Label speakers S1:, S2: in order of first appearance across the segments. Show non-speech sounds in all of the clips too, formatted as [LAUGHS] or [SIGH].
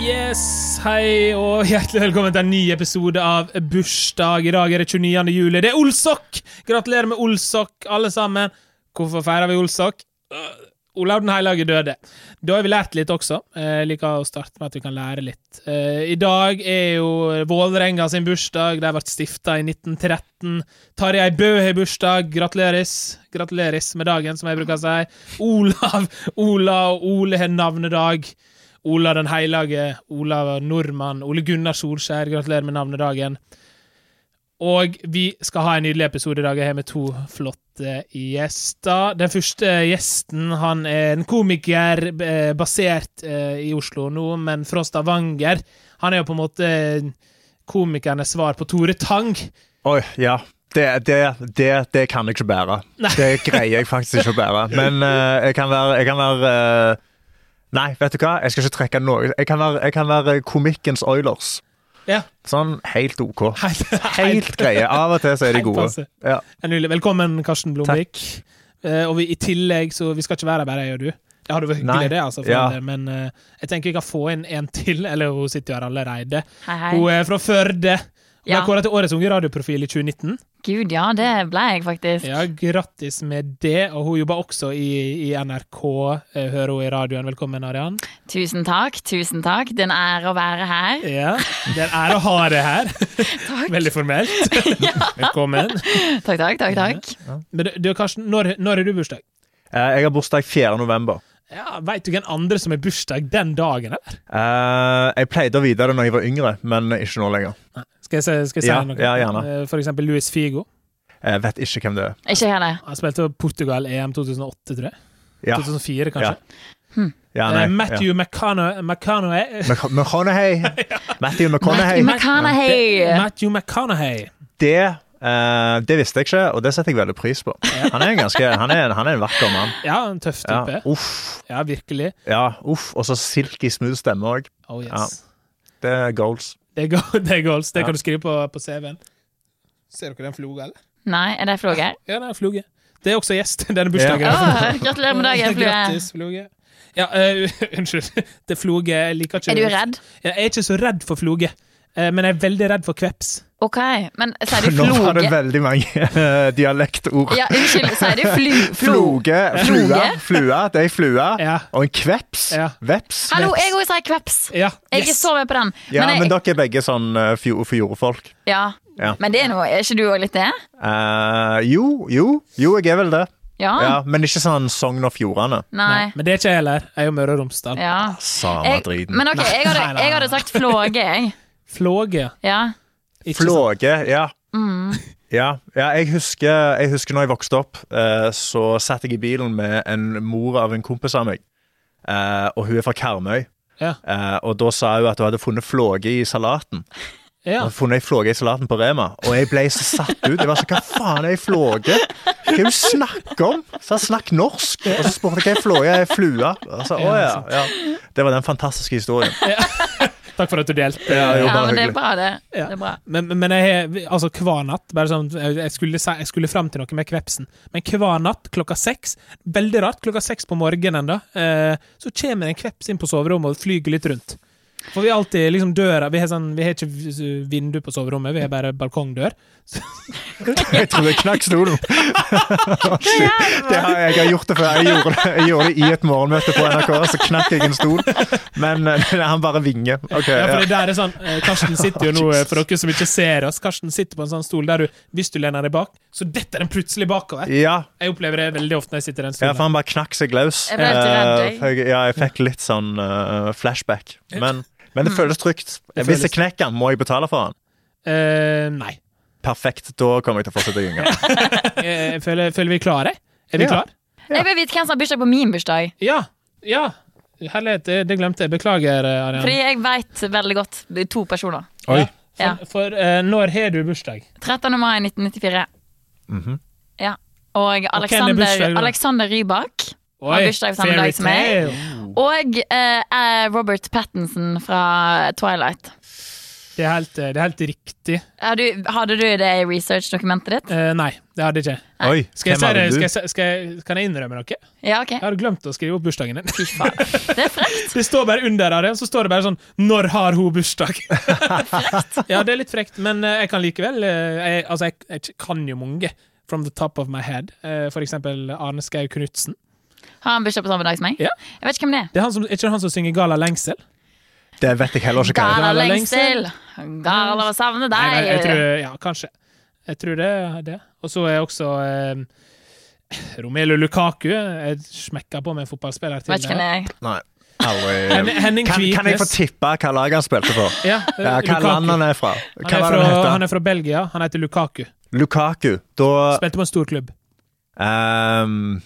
S1: Yes, hei og hjertelig velkommen til en ny episode av Bursdag. I dag er det 29. juli. Det er Olsok! Gratulerer med Olsok, alle sammen. Hvorfor feirer vi Olsok? Øh, Olav den hellige døde. Da har vi lært litt også. Jeg liker å starte med at vi kan lære litt. Eh, I dag er jo Vålerenga sin bursdag. De ble stifta i 1913. Tarjei Bø har bursdag. Gratuleres. Gratuleres med dagen, som jeg bruker å si. Olav, Ola og Ole har navnedag. Ola den hellige, Olav Nordmann, Ole Gunnar Solskjær, gratulerer med navnedagen. Og vi skal ha en nydelig episode i dag. Jeg har med to flotte gjester. Den første gjesten han er en komiker eh, basert eh, i Oslo nå, men fra Stavanger. Han er jo på en måte komikernes svar på Tore Tang.
S2: Oi, ja. Det, det, det, det kan jeg ikke bære. Det greier jeg faktisk ikke å bære. Men eh, jeg kan være, jeg kan være eh, Nei, vet du hva? Jeg skal ikke trekke noe. Jeg kan være, jeg kan være komikkens Oilers.
S1: Ja,
S2: Sånn [LAUGHS] helt OK.
S1: [LAUGHS] helt,
S2: Helt greie. Av og til så er de
S1: Helt
S2: gode.
S1: passe.
S2: Ja.
S1: Det er nydelig. Velkommen, Karsten Blomvik. Eh, og vi, i tillegg, så vi skal ikke være her bare jeg og du. Det hadde vært hyggelig,
S2: Nei.
S1: det, altså, for
S2: Ja.
S1: all del, men eh, jeg tenker vi kan få inn en til. Eller hun sitter jo her allerede.
S3: Hei,
S1: Hun
S3: hei.
S1: er fra Førde. Hun
S3: Ja.
S1: er kåra til Årets unge radioprofil i 2019.
S3: Gud, ja, det ble jeg faktisk.
S1: Ja, Grattis med det. Og hun jobber også i, i NRK. Jeg hører hun i radioen. Velkommen, Arian.
S3: Tusen takk, tusen takk. Det er en ære å være her.
S1: Ja, Det er en ære å ha deg her.
S3: [LAUGHS] Takk,
S1: Veldig
S3: [LAUGHS]
S1: formelt. Velkommen.
S3: takk, takk. takk, takk.
S1: Men du, du Karsten, når, når er du bursdag?
S2: Eh, Jeg har bursdag 4. november.
S1: Ja, Veit du hvem andre som har bursdag den dagen, eller?
S2: Eh, jeg pleide å vite det når jeg var yngre, men ikke nå lenger.
S1: Skal jeg, se- skal jeg si
S2: Ja,
S1: noe?
S2: ja, gjerne.
S1: Eh, For eksempel Luis Figo.
S2: Jeg Eh, vet ikke hvem det er.
S3: Ikke jeg det.
S1: Han spilte for Portugal EM 2008, tror jeg.
S2: Ja.
S1: 2004,
S2: Ja.
S1: kanskje.
S2: Ja,
S1: Eh,
S2: nei. Ja.
S1: Matthew McConaughey McConaughey-
S2: Mc-
S1: [LAUGHS]
S2: McConaughey. Matthew
S3: Matthew
S2: McConaughey.
S3: McConaughey.
S1: Matthew McConaughey.
S2: Det, eh, det visste jeg ikke, og det setter jeg veldig pris på. Han er en, ganske, han er en, han er en vakker mann.
S1: Ja, en tøff
S2: Ja,
S1: type.
S2: uff.
S1: Ja, virkelig.
S2: Ja, uff. Og så silky smooth stemme òg.
S1: Oh yes.
S2: Ja. Det er goals.
S1: Det, er go [LAUGHS] det er goals. Det
S2: Ja.
S1: kan du skrive på, på CV-en. Ser dere den floga, eller?
S3: Nei, er det
S1: [LAUGHS]
S3: flue her?
S1: Ja, det er en floge. Det er også gjest [LAUGHS] denne bursdagen.
S3: Å, gratulerer med dagen, flue.
S1: Grattis, floge. Ja, eh, [LAUGHS] unnskyld. Det er floge. Jeg liker ikke
S3: Er du redd?
S1: Jeg er ikke så redd for floge, eh, men jeg er veldig redd for kveps.
S3: Ok, men
S1: [LAUGHS]
S3: sier du
S2: Nå var det
S3: floge?
S2: veldig mange [LAUGHS] eh, dialektord.
S3: Ja, unnskyld, sier du flu...
S1: [LAUGHS]
S3: flo...
S2: Floge, flue,
S3: Floge?
S2: flue, det er ei flue.
S1: Ja.
S2: Og en kveps.
S1: Ja.
S2: Veps.
S3: Hallo, jeg òg sier kveps.
S1: Ja,
S3: Jeg er
S1: yes.
S3: så med på den.
S2: Ja, men,
S3: jeg,
S2: dere er begge sånn uh, fjordfolk.
S3: ja.
S2: Ja.
S3: men det er noe, er ikke du òg litt det?
S2: Eh, jo, jo, jo, jeg er vel det.
S3: Ja?
S2: Ja, men ikke sånn Sogn og Fjordane.
S3: Nei.
S1: Men det er ikke jeg heller. Jeg er jo Møre og Romsdal.
S3: Ja.
S2: Samme
S3: Jeg,
S2: driten.
S3: men ok, jeg hadde,
S1: Nei, nei, nei.
S3: jeg hadde sagt flåge, jeg.
S1: Flåge.
S3: Ja. Mm.
S1: Ikke sant?
S2: Flåge, ja. Ja, ja jeg, husker, jeg husker når jeg vokste opp, eh, så satt jeg i bilen med en mor av en kompis av meg. Eh, og hun er fra Karmøy.
S1: Ja.
S2: Eh, og da sa hun at hun hadde funnet flåge i salaten. Hun
S1: Ja.
S2: hadde funnet ei flåge i salaten på Rema. Og jeg ble så satt ut. Jeg var sånn, Hva faen er ei flåge? Hva er det du snakker om? Så jeg snakk norsk. Og så spurte jeg hva ei flåge er. ei Flue. Og så, å, ja, ja. Det var den fantastiske historien.
S1: Takk for at du delte.
S2: Ja, jo,
S3: ja,
S2: bare
S3: men det er
S2: hyggelig.
S3: bra, det.
S1: Ja.
S3: det er bra.
S1: Men, men jeg har altså hver natt bare sånn, jeg, skulle, si- jeg skulle fram til noe med kvepsen, men hver natt klokka seks Veldig rart, klokka seks på morgenen, da, eh, så kommer det en kveps inn på soverommet og flyger litt rundt. For vi har alltid liksom døra Vi har, sånn, vi har ikke v- vindu på soverommet, vi har bare balkongdør.
S2: Jeg tror jeg knakk stolen. Det har, jeg har gjort det før. Jeg gjorde det, jeg gjorde det i et morgenmøte på NRK, så knakk jeg en stol. Men eh, han bare vinger. Ok,
S1: Ja,
S2: ja.
S1: for det der er sånn eh, Karsten sitter jo nå, eh, for dere som ikke ser oss, Karsten sitter på en sånn stol der du, hvis du lener deg bak, så detter den plutselig bakover.
S2: Ja,
S1: Jeg opplever det veldig ofte når jeg sitter i den
S2: ja,
S1: stolen.
S2: for han bare knakk seg løs.
S3: Jeg ble helt redd, jeg.
S2: Eh, for jeg- Ja, jeg fikk litt sånn eh, flashback. Men, men det føles trygt.
S1: Det
S2: Hvis jeg
S1: føles-
S2: knekker han, må jeg betale for han.
S1: Eh, nei.
S2: Perfekt, da kommer jeg til å fortsette å gynge.
S1: Eh, jeg føler, føler vi er klare? Er vi
S2: Ja.
S1: klare?
S3: Jeg vil vite hvem som har bursdag på min bursdag.
S1: Ja. Ja. Herlighet, det, det glemte jeg. Beklager, eh,
S3: Fordi
S1: Arian.
S3: jeg veit veldig godt det er to personer.
S2: Oi.
S3: Ja.
S1: For, for eh, når har du bursdag?
S3: 13. mai 1994. Ja. Og Alexander,
S1: Mhm. bursdag, da?
S3: Alexander Rybak. Har bursdag samme dag som meg.
S1: fairytale.
S3: Og eh, eh, Robert Pattinson fra Twilight.
S1: Det er helt, det er helt riktig.
S3: Har du- Hadde du det i researchdokumentet ditt?
S1: Eh, nei, det hadde jeg ikke.
S2: Oi,
S1: Skal jeg
S2: hvem
S1: si det? Skal
S2: hadde du?
S1: jeg, si- skal jeg, kan jeg innrømme noe? Jeg
S3: Ja, ok.
S1: hadde glemt å skrive opp bursdagen din.
S3: Fy faen. Det er frekt.
S1: [LAUGHS] Det står bare under der, og så står det bare sånn 'Når har hun
S3: [LAUGHS]
S1: bursdag?' ja, det er litt frekt, men eh, jeg kan likevel eh, jeg, Altså, jeg, jeg kan jo mange from the top of my head. Eh, For eksempel Arne Skau Knutsen.
S3: Har han bursdag på samme dag som meg?
S1: Ja.
S3: Jeg vet ikke hvem det er.
S1: Det er, han som, er ikke det han som synger 'Gala lengsel'?
S2: Det vet jeg heller ikke hva er.
S3: Gala
S1: Gala
S3: lengsel. Gala å savne deg.
S1: Nei, jeg, jeg tror, ja, kanskje. Jeg tror det er det. Og så er også eh, Romelu Lukaku. Jeg smekka på med en fotballspiller til.
S3: vet ikke hvem
S1: [LAUGHS]
S3: det er.
S2: Nei,
S1: Hen-
S2: aldri.
S1: Henning
S2: Kan, kan jeg få
S1: Kvitnes.
S2: tippe hva lag han spilte for?
S1: Ja,
S2: Ja,
S1: eh,
S2: hva land han
S1: Lukaku.
S2: er fra?
S1: Han
S2: Hva
S1: er,
S2: var det
S1: fra,
S2: han
S1: han
S2: heter?
S1: er fra Belgia. Han heter Lukaku.
S2: Lukaku. Da
S1: Spilte på en stor klubb.
S2: ehm,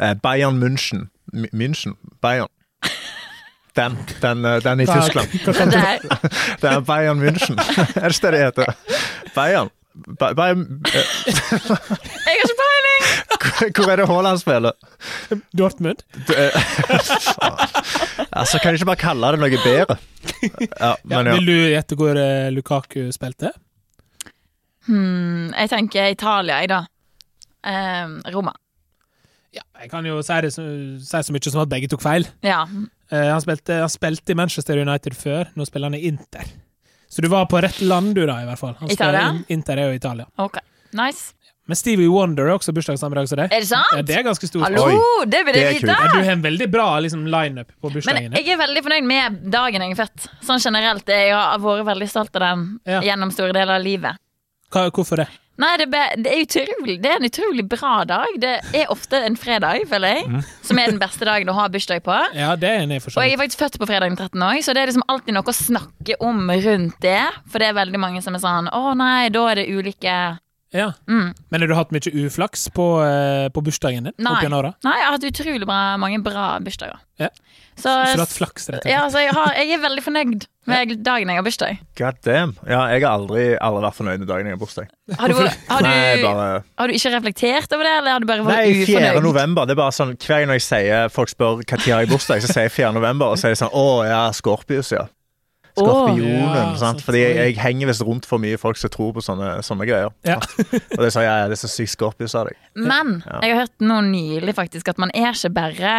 S2: eh, Bayern München. M- München? Bayern. Den, den, eh, den i
S1: Hva-
S2: Tyskland.
S3: Det der.
S2: Det er Bayern [LAUGHS] München. Er det ikke det det heter? Bayern? Ba Bayern eh,
S3: Jeg har ikke peiling!
S2: Hvor er det Haaland spiller?
S1: Dortmund.
S2: Det er- [LAUGHS] altså, kan jeg ikke bare kalle det noe bedre? Ja,
S1: Ja,
S2: men ja.
S1: Vil du gjette hvor eh, Lukaku spilte?
S3: Hmm, jeg tenker Italia, jeg, da. Ehm, Roma.
S1: Ja, jeg kan jo si, det, så- si så mye som at begge tok feil.
S3: Ja.
S1: Eh, han, spilte, han spilte i Manchester United før, nå spiller han i Inter. Så du var på rett land, du, da, i hvert fall. Han spiller-
S3: Italia?
S1: Inter er jo Italia.
S3: Ok. Nice.
S1: Men Stevie Wonder er også bursdag samme dag som deg.
S3: Er det sant?
S1: Ja, det er ganske stort.
S3: Hallo! Det vil jeg
S2: det er kult.
S3: vite!
S1: Ja, du har en veldig bra liksom, lineup på bursdagen
S3: Men
S1: din.
S3: jeg er veldig fornøyd med dagen jeg er født. Sånn generelt. Jeg har vært veldig stolt av den
S1: Ja.
S3: gjennom store deler av livet.
S1: Hva- Hvorfor det?
S3: Nei, det, be, det, er utrolig, det er en utrolig bra dag. Det er ofte en fredag, føler jeg,
S1: Mm.
S3: som er den beste dagen å ha bursdag på.
S1: Ja, det er jeg for så
S3: Og jeg
S1: vidt.
S3: er faktisk født på fredag den 13. òg, så det er liksom alltid noe å snakke om rundt det. For det er veldig mange som er sånn Å nei, da er det ulike
S1: Ja.
S3: mm.
S1: Men har du hatt mye uflaks på, eh, på bursdagen din?
S3: Nei.
S1: Opp gjennom åra?
S3: Nei, jeg har hatt utrolig bra, mange bra bursdager.
S1: Ja.
S3: Så,
S1: Så du har hatt flaks, rett og slett?
S3: Eh, ja, så jeg, har, jeg er veldig fornøyd med dagen jeg har bursdag.
S2: God damn. Ja, jeg har aldri, aldri vært fornøyd med dagen jeg har bursdag.
S3: Har du, har
S2: Nei,
S3: du,
S2: bare...
S3: har du ikke reflektert over det, eller har du bare vært
S2: Nei, 4.
S3: ufornøyd?
S2: november. Det er bare sånn, Hver gang jeg sier, folk spør hva tid har jeg bursdag, så sier jeg 4. november, og så er det sånn Å ja, Scorpius, ja. Skorpionen.
S1: Ja,
S2: sant?
S1: sant.
S2: Fordi jeg, jeg henger visst rundt for mye folk som tror på sånne, sånne greier. [LAUGHS]
S1: Ja.
S2: Og det sa jeg, det er så sykt Scorpius av deg.
S3: Men jeg har hørt nå nylig faktisk at man er ikke bare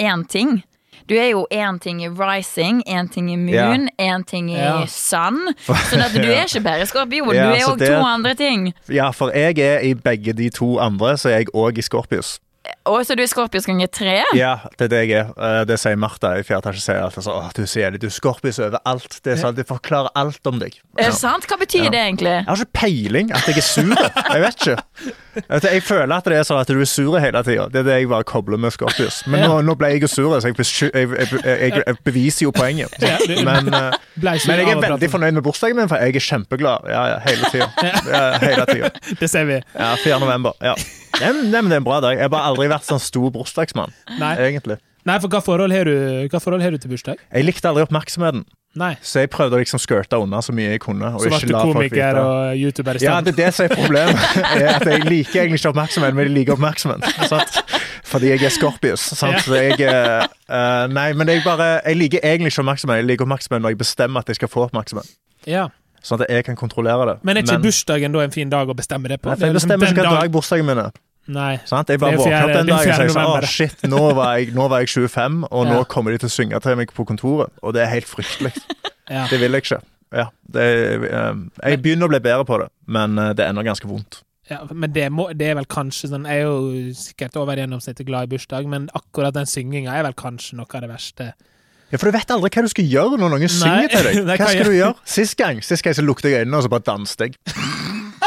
S3: én ting. Du er jo én ting i Rising, én ting i Moon, én ting i
S1: Ja.
S2: [LAUGHS]
S3: Sun. Sånn at du er ikke bare skorpion,
S2: Ja,
S3: du er
S2: så
S3: òg
S2: det-
S3: to andre ting.
S2: Ja, for jeg er i begge de to andre, så er jeg òg i Scorpius.
S3: Og så du er Scorpius ganger tre.
S2: Ja, det er det jeg er. Eh, Det sier Martha i fjerde etasje. Sier alltid sånn Å, du sier det. Du er Scorpius overalt. Det er sånn, det forklarer alt om deg.
S3: Er
S2: Ja.
S3: det sant? Hva betyr
S2: Ja.
S3: det egentlig?
S2: Jeg har ikke peiling at jeg er sur. Jeg vet ikke. Vet du, Jeg føler at det er sånn at du er sur hele tida. Det er det jeg bare kobler med Scorpius. Men nå, nå ble jeg jo sur, så jeg, besky- jeg, jeg, jeg, jeg beviser jo poenget.
S1: Ja, du-
S2: Men, eh,
S1: Blei så
S2: men jeg
S1: glad
S2: er
S1: av å prate
S2: veldig
S1: om
S2: fornøyd med bursdagen min, for jeg er kjempeglad ja, ja, hele
S1: [LAUGHS]
S2: tida. Ja, hele tida.
S1: det. Det ser vi.
S2: Ja, 4. november. Ja. Nei, men- nei, men det er en bra dag. Jeg har bare aldri vært sånn stor bursdagsmann,
S1: Nei,
S2: egentlig.
S1: Nei for hva forhold har du, hva forhold har du til bursdag?
S2: Jeg likte aldri oppmerksomheten,
S1: Nei.
S2: så jeg prøvde å liksom skirte unna så mye jeg kunne. Og
S1: Så ble
S2: ikke
S1: du
S2: la folk vite.
S1: komiker og YouTuber i
S2: Ja,
S1: stedet.
S2: det er det som er
S1: [LAUGHS]
S2: problemet. Er at jeg liker egentlig ikke oppmerksomhet, men jeg liker oppmerksomhet. Sant? Fordi jeg er Scorpius. Sant? Så jeg, eh, eh, nei, men jeg, bare, jeg liker egentlig ikke oppmerksomhet. Jeg liker oppmerksomhet når jeg bestemmer at jeg skal få oppmerksomhet.
S1: Ja.
S2: Sånn at jeg kan kontrollere det.
S1: Men er ikke bursdagen da en fin dag å bestemme det på?
S2: Nei, for jeg
S1: Det er liksom
S2: bestemmer ikke
S1: den
S2: hvilken
S1: dag-
S2: dag bursdagen min er.
S1: Nei.
S2: Sant? Jeg bare
S1: Det er
S2: våkner opp
S1: fjerde-
S2: den
S1: det er
S2: dagen og
S1: fjerde
S2: sier sånn
S1: november.
S2: Å, shit, nå var, jeg, nå var jeg 25, og nå
S1: Ja.
S2: kommer de til å synge til meg på kontoret. Og det er helt fryktelig.
S1: Ja.
S2: Det vil jeg ikke. Ja, det, eh, jeg begynner å bli bedre på det, men eh, det er ennå ganske vondt.
S1: Ja, men det, må, det er vel kanskje sånn Jeg er jo sikkert over gjennomsnittet glad i bursdag, men akkurat den synginga er vel kanskje noe av det verste.
S2: Ja, For du vet aldri hva du skal gjøre når noen synger til [LAUGHS] deg.
S1: Nei,
S2: Hva
S1: hva
S2: skal du gjøre? Sist gang sist gang så lukte jeg øynene, og så bare danset jeg.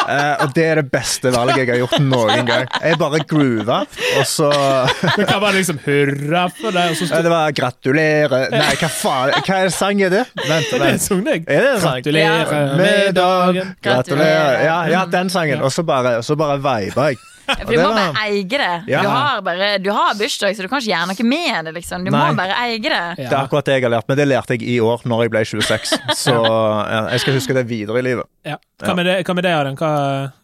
S2: Eh, og det er det beste valget jeg har gjort noen gang. Jeg bare groova, og så
S1: Men hva var det liksom Hurra for deg,
S2: [LAUGHS]
S1: og så
S2: Ja,
S1: stod
S2: Det var 'Gratulerer' Nei, hva faen? Hva er sang er det? Vent,
S1: det en
S2: vent.
S1: [LAUGHS] sang, det.
S2: Er det en sang?
S1: Gratulerer
S2: Med dagen,
S1: dagen.
S2: gratulerer. Ja, ja den sangen. Og så bare, og så bare veiba jeg.
S3: For du
S2: det
S3: må
S2: var-
S3: bare eie det.
S2: Ja.
S3: Du, har bare, du har bursdag, så du kan ikke gjøre noe med det. liksom Du
S2: Nei.
S3: må bare eie det.
S2: Det
S1: [LAUGHS]
S2: er akkurat det jeg har lært, men det lærte jeg i år, når jeg ble 26. Så eh, jeg skal huske det videre i livet.
S1: Ja. Hva med det, hva med det Aron? Hva,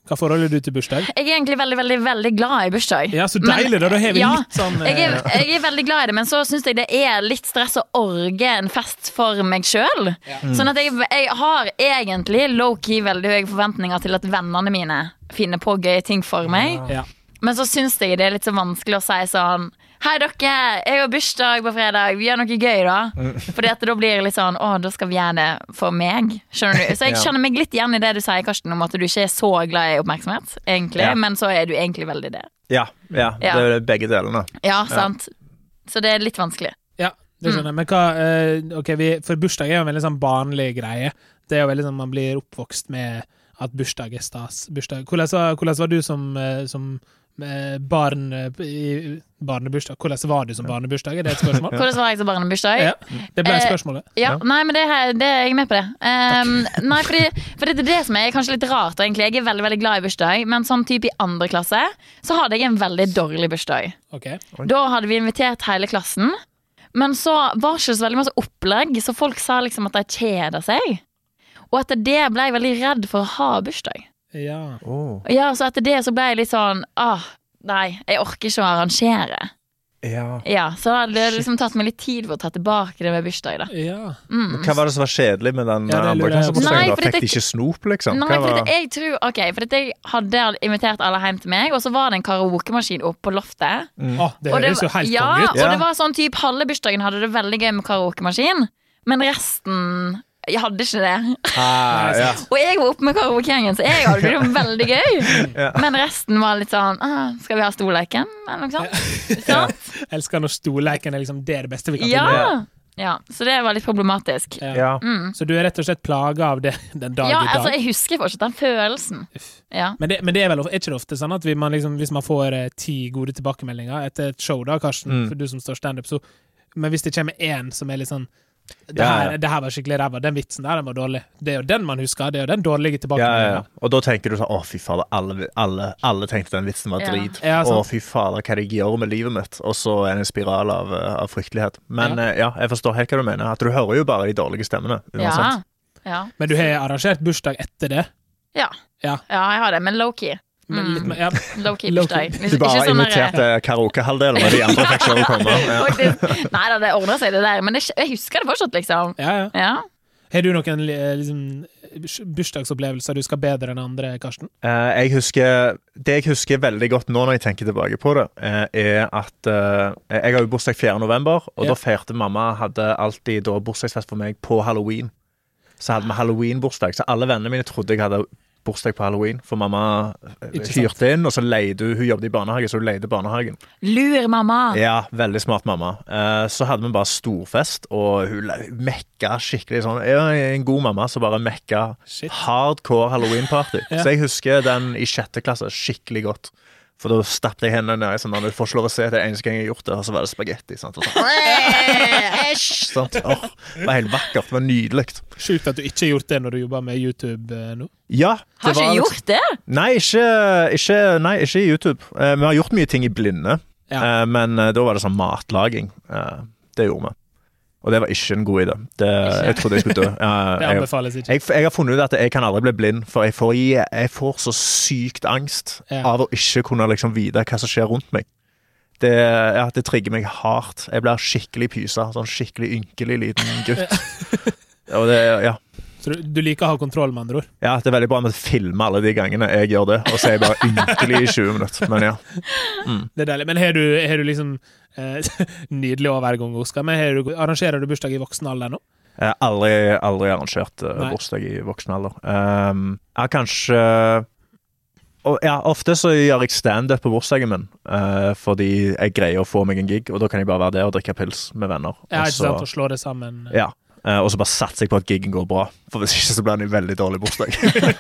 S1: hva forhold er du til bursdag?
S3: Jeg er egentlig veldig veldig, veldig glad i bursdag.
S1: Ja, så
S3: Men-
S1: deilig, da. Da har vi
S3: Ja,
S1: litt sånn eh,
S3: Jeg er, jeg er veldig glad i det, men så syns jeg det er litt stress å orge en fest for meg sjøl.
S1: Mm.
S3: Sånn at jeg, jeg har egentlig low-key veldig høye forventninger til at vennene mine finner på gøye ting for meg.
S1: ja.
S3: Men så syns jeg det er litt så vanskelig å si sånn Hei, dere! Jeg har bursdag på fredag. Vi gjør noe gøy,
S1: Mm.
S3: da. Fordi at da blir det litt sånn Å, da skal vi gjøre det for meg. Skjønner du?
S1: [LAUGHS]
S3: Så jeg
S2: Ja.
S3: kjenner meg litt igjen i det du sier, Karsten, om at du ikke er så glad i oppmerksomhet, egentlig.
S2: Ja.
S3: Men så er du egentlig veldig det.
S2: Ja, ja, det er det begge delene.
S3: Ja, sant. Så det er litt vanskelig.
S1: Ja, det
S3: Mm.
S1: skjønner jeg. Men hva eh, Ok, vi, for bursdag er jo en veldig sånn barnlig greie. Det er jo veldig sånn man blir oppvokst med at bursdag er stas. Bursdag. Hvordan, var- hvordan var du som, eh, som eh, barn eh, i barnebursdag? Hvordan var du som barnebursdag? Er det et spørsmål?
S3: Hvordan var jeg til barnebursdag?
S1: Ja, det ble
S3: Eh,
S1: spørsmålet.
S3: Ja, nei, men det, her, det er jeg med på det. Ehm, nei, fordi, fordi det er det som er kanskje litt rart. da, egentlig. Jeg er veldig veldig glad i bursdag, men sånn type i andre klasse så hadde jeg en veldig dårlig bursdag.
S1: Ok.
S3: Da hadde vi invitert hele klassen, men så var det ikke så veldig masse opplegg, så folk sa liksom at de kjeda seg. Og etter det ble jeg veldig redd for å ha bursdag.
S1: Ja.
S2: Oh,
S3: Ja, Så etter det så ble jeg litt sånn ah, Nei, jeg orker ikke å arrangere.
S2: ja.
S3: Ja, Så det hadde liksom tatt meg litt tid for å ta tilbake det med bursdag. da
S1: ja.
S3: mm.
S2: Hva var det som var kjedelig med den
S1: Ja, det
S2: eh, andre
S1: lurer jeg på.
S2: klassebursdagen?
S3: Nei,
S2: da?
S3: fordi
S2: Fikk
S3: det-
S2: de ikke snop, liksom?
S3: Nei,
S2: Hva
S3: for
S2: var...
S3: det, jeg tror Ok, for det, jeg hadde invitert alle hjem til meg, og så var det en karaokemaskin oppe på loftet.
S1: Å, det
S3: Mm. Og det
S1: høres jo
S3: var-
S1: helt
S3: ja,
S1: konge ut.
S2: Ja.
S3: Og det var sånn typ halve bursdagen hadde det veldig gøy med karaokemaskin, men resten jeg hadde ikke det. [LAUGHS]
S2: Ah, ja.
S3: Og jeg var oppe med karaokegjengen, så jeg hadde det veldig
S1: [LAUGHS]
S3: gøy.
S2: Ja.
S3: Men resten var litt sånn ah, Skal vi ha storleken, eller noe sånt? Sant?
S1: Jeg elsker når storleken er liksom det, er det beste vi kan finne.
S3: Ja. ja. Så det var litt problematisk.
S1: Ja.
S2: Ja.
S1: Så du er rett og slett plaga av det den dag
S3: Ja,
S1: i dag?
S3: altså, jeg husker fortsatt den følelsen. Ja.
S1: Men det, men det er vel of- er ikke det ofte sånn at vi- man liksom, hvis man får eh, ti gode tilbakemeldinger etter et show, da, Karsten,
S2: Mm.
S1: for du som står standup, så Men hvis det kommer én som er litt sånn det
S2: Ja, ja.
S1: her, det her var skikkelig ræva. Den vitsen der den var dårlig. Det er jo den man husker. Det er jo den dårlige
S2: Ja, ja, ja.
S1: tilbakemeldinga.
S2: Og da tenker du sånn Å, fy fader, alle, alle, alle tenkte den vitsen var
S3: Ja.
S2: drit.
S1: Ja, sant.
S2: Å, fy fader, hva er det jeg gjør med livet mitt? Og så er det en spiral av, eh, av fryktelighet. Men
S1: Ja.
S2: eh, ja, jeg forstår helt hva du mener. At du hører jo bare de dårlige stemmene.
S3: Ja.
S2: Uansett.
S3: Ja.
S1: Men du har arrangert bursdag etter det.
S3: ja.
S1: Ja.
S3: Ja, jeg har det, men low-key.
S1: Men
S3: Mm.
S1: litt, mer- ja.
S3: Low-key
S1: Mm. Low-key.
S3: bursdag.
S2: Du bare
S3: sånn der-
S2: inviterte karaokehalvdelen, og de andre fikk selv komme. Ja.
S3: [LAUGHS] Faktisk. Nei da, det ordner seg, det der. Men det, jeg husker det fortsatt, liksom.
S1: ja, ja.
S3: Ja.
S1: Har du noen eh, liksom, bursdagsopplevelser du skal bedre enn andre, Karsten?
S2: Eh, jeg husker, det jeg husker veldig godt nå når jeg tenker tilbake på det, eh, er at eh, Jeg har jo bursdag 4. november, og
S1: Ja.
S2: da feirte mamma hadde alltid da bursdagsfest for meg på halloween. Så hadde vi halloween-bursdag, så alle vennene mine trodde jeg hadde bursdag på halloween. For mamma eh,
S1: Ikke sant.
S2: hyrte inn, og så leide hun Hun jobbet i barnehage, så hun leide barnehagen.
S3: Lur mamma.
S2: Ja, veldig smart mamma. Eh, så hadde vi bare storfest, og hun la- mekka skikkelig sånn. Er en god mamma som bare mekka
S1: Shit.
S2: hardcore
S3: [LAUGHS]
S2: halloween-party.
S1: Ja.
S2: Så jeg husker den i sjette klasse skikkelig godt. For da stappet jeg hendene ned i sånn, du får ikke lov å se det er eneste gang jeg har gjort det, og så var det spagetti. sant? Og
S3: Eh,
S2: så- [LAUGHS]
S3: Æsj!
S2: sant? Åh, det var helt vakkert. Det var nydelig.
S1: Sjukt at du ikke har gjort det når du jobber med YouTube eh, nå.
S2: Ja, det
S3: [LAUGHS] Har
S2: var liksom-
S3: ikke gjort det?
S2: Nei, ikke, ikke, nei, ikke i YouTube. Eh, vi har gjort mye ting i blinde,
S1: Ja.
S2: Eh, men eh, da var det sånn matlaging. Eh, det gjorde vi. Og det var ikke en god idé. Det, jeg trodde jeg
S1: [LAUGHS]
S2: skulle dø. Eh,
S1: Det
S2: jeg,
S1: anbefales ikke.
S2: jeg, jeg har funnet ut at jeg kan aldri bli blind, for jeg får, je- jeg får så sykt angst
S1: Ja.
S2: av å ikke kunne liksom vite hva som skjer rundt meg. Det, ja, det trigger meg hardt. Jeg blir skikkelig pysa. Sånn skikkelig ynkelig liten gutt.
S1: [LAUGHS]
S2: Og det, ja.
S1: Så du, du liker å ha kontroll, med andre ord.
S2: Ja, det er veldig bra med å filme alle de gangene jeg gjør det, og så er jeg bare ynkelig i 20 minutter. Men ja.
S1: Det er deilig. Men har du, har du liksom eh, [LAUGHS] Nydelig overgang, Oskar. Men har du, arrangerer du bursdag i voksen alder nå?
S2: Jeg har aldri, aldri arrangert eh,
S1: Nei.
S2: bursdag i voksen alder. Um, jeg har kanskje og, ja, Ofte så gjør jeg standup på bursdagen min, eh, fordi jeg greier å få meg en gig, og da kan jeg bare være der og drikke pils med venner.
S1: Ja,
S2: og
S1: ikke sant? Å slå det sammen.
S2: ja. Eh, og så bare satser jeg på at gigen går bra, for hvis ikke så blir det en veldig dårlig bursdag.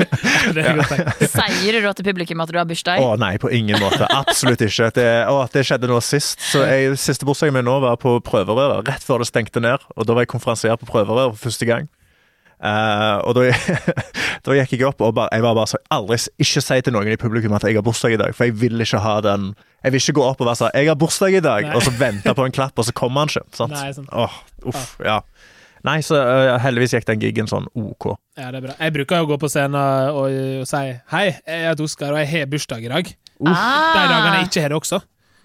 S1: [LAUGHS] Det er godt tenkt.
S3: Sier du da til publikum at du har
S2: Å
S3: bursdag?
S2: nei, på ingen måte. Absolutt ikke. Det, å, det skjedde nå sist. Så jeg, Siste bursdagen min nå var på prøverøret, rett før det stengte ned. Og Da var jeg konferansier på prøverøret for første gang. Eh, og da, [LAUGHS] da gikk jeg opp og bare, jeg var bare så aldri s- Ikke si til noen i publikum at jeg har bursdag i dag, for jeg vil ikke ha den Jeg vil ikke gå opp og være sånn 'Jeg har bursdag i dag',
S1: Nei.
S2: og så vente på en klapp, og så kommer han ikke. Sant?
S1: Nei, sant.
S2: Åh, uff, ja. Nei, så eh, heldigvis gikk den gigen sånn OK.
S1: Ja, det er bra. Jeg bruker jo å gå på scenen og, og si hei, jeg heter Oskar, og jeg har bursdag i dag.
S3: Ah.
S1: De dagene jeg ikke har det også.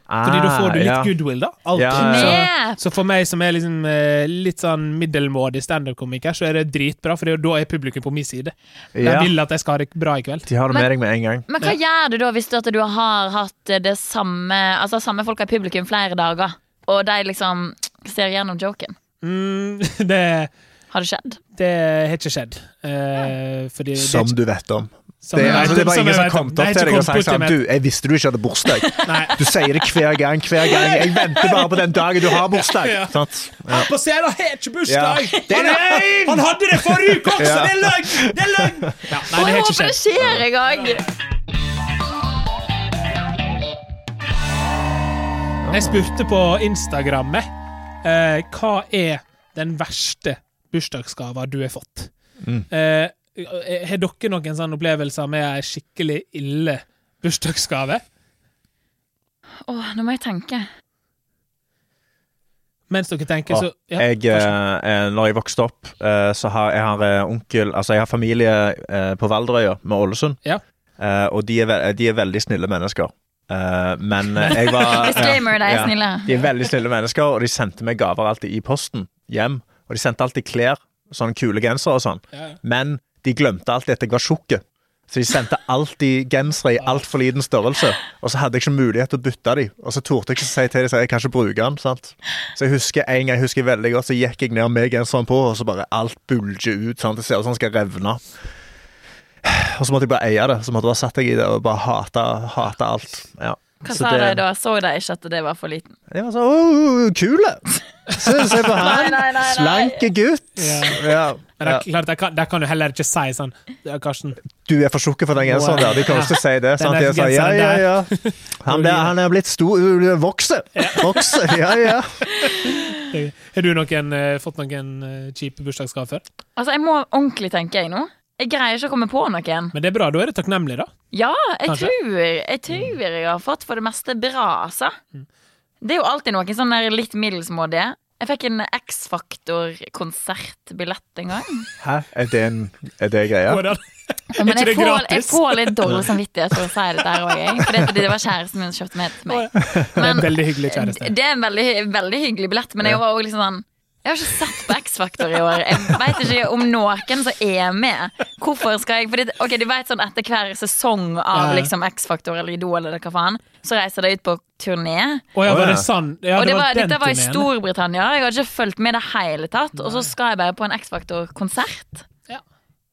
S1: Fordi da får du litt
S2: Ah, ja.
S1: goodwill, da. Alltid.
S2: Ja,
S3: Knep!
S1: Så, så for meg som er liksom, eh, litt sånn middelmådig standup-komiker, så er det dritbra, for det er jo da er publikum på min side. De
S2: Ja.
S1: vil at jeg skal ha det bra i kveld.
S2: De har det
S3: Men-
S2: med deg med en gang.
S3: Men hva gjør du da hvis du, at du har hatt det samme Altså samme folk i publikum flere dager, og de liksom ser gjennom joken?
S1: Mm, [LAUGHS] det,
S3: Har det skjedd?
S1: det har ikke skjedd. Eh, fordi det er
S2: Som
S1: ikke-
S2: du vet om.
S1: som
S2: Det,
S1: jeg
S2: er-
S1: vet
S2: altså,
S1: om,
S2: det var ingen
S1: jeg
S2: som
S1: vet
S2: kom
S1: om.
S2: opp
S1: Det er
S2: til
S1: ikke
S2: deg og sa
S1: kommet bort til
S2: sånn
S1: meg.
S2: Du, jeg visste du ikke hadde bursdag.
S1: Nei.
S2: Du sier det hver gang, hver gang. Jeg venter bare på den dagen du har bursdag.
S1: Ja.
S2: Sant?
S1: Han på scenen har ikke bursdag!
S2: Ja. Det er
S1: Han er-
S2: løgn!
S1: Han hadde det forrige uke også!
S2: Ja.
S1: Det er løgn! Det er løgn! Ja, nei,
S3: Og
S1: det
S3: jeg
S1: har ikke
S3: håper det
S1: skjedd.
S3: skjer i gang!
S1: Jeg spurte på Instagram eh, hva er den verste bursdagsgava du har fått.
S2: Mm.
S1: Eh, har dere noen sånne opplevelser med ei skikkelig ille bursdagsgave?
S3: Åh, nå må jeg tenke.
S1: Mens dere tenker, så ja,
S2: jeg, eh, eh, når jeg vokste opp, eh, så har jeg har, eh, onkel Altså, jeg har familie eh, på Valdrøya med Ålesund,
S1: Ja.
S2: Eh, og de er, ve de er veldig snille mennesker. Eh, men eh, jeg var
S3: [LAUGHS] Disclaimer, de er
S2: ja.
S3: snille.
S2: De er veldig snille mennesker, og de sendte meg gaver alltid i posten hjem. Og de sendte alltid klær, sånn kule gensere og sånn.
S1: Ja, ja.
S2: Men de glemte alltid at jeg var tjukk. Så de sendte alltid gensere i altfor liten størrelse. Og så hadde jeg ikke mulighet til å bytte dem. Og så torde jeg ikke si til dem at jeg kan ikke bruke den. sant? Så jeg husker en gang jeg husker veldig godt, så gikk jeg ned med genseren på, og så bare alt bulger ut. sant? Det ser ut som den skal revne. Og så måtte jeg bare eie det. Så måtte jeg bare satt jeg i det og bare hate, hate alt. Ja.
S3: Hva
S2: Så
S3: sa
S2: det-
S3: de da? Så de ikke at det var for liten?
S2: jeg var sånn Åh, kule! Se, se på
S3: [LAUGHS] Nei,
S2: han!
S3: nei, nei, nei.
S2: Slanke gutt!
S1: Ja.
S2: Ja.
S1: men det er klart, jeg kan, jeg kan jo heller ikke si sånn ja, Karsten,
S2: Du er for tjukk for den genseren der. De kan ikke si det. Sant? De er sånn, ja, ja, [LAUGHS] ja. Han, ble, han er blitt stor Vokser! Vokser, ja, ja.
S1: det- har du noen, eh, fått noen eh, kjipe bursdagsgave før?
S3: Altså, jeg må ordentlig tenke, jeg nå. Jeg greier ikke å komme på noen.
S1: Men det er bra, da er det takknemlig, da.
S3: Ja, jeg
S1: Kanskje.
S3: tror, jeg tror jeg har fått for det meste bra, altså. Det er jo alltid noen sånne der litt middelsmådige. Jeg fikk en X-Faktor-konsertbillett en gang.
S2: [LAUGHS] Hæ? Er det en er det greia?
S1: Hvordan?
S3: Ja, men
S1: ikke
S3: jeg
S1: det
S3: får, jeg
S1: gratis?
S3: får litt dårlig samvittighet for å si det der òg, jeg. For det, det var kjæresten min som kjøpte med til meg. Men
S1: Veldig hyggelig kjæreste.
S3: det er en veldig, veldig hyggelig billett, men jeg var også liksom sånn jeg har ikke sett på X-Factor i år. Jeg vet ikke om noen som er med. Hvorfor skal jeg fordi, Ok, du vet sånn etter hver sesong av
S1: Ja.
S3: liksom X-Factor eller Idol eller hva faen, så reiser de ut på turné.
S1: Å ja, var
S2: Å, ja.
S1: det sann? Ja,
S3: og det var,
S1: den
S3: dette var i
S1: turneen.
S3: Storbritannia. Jeg hadde ikke fulgt med i det hele tatt. Og så skal jeg bare på en X-Factor-konsert.
S1: Ja.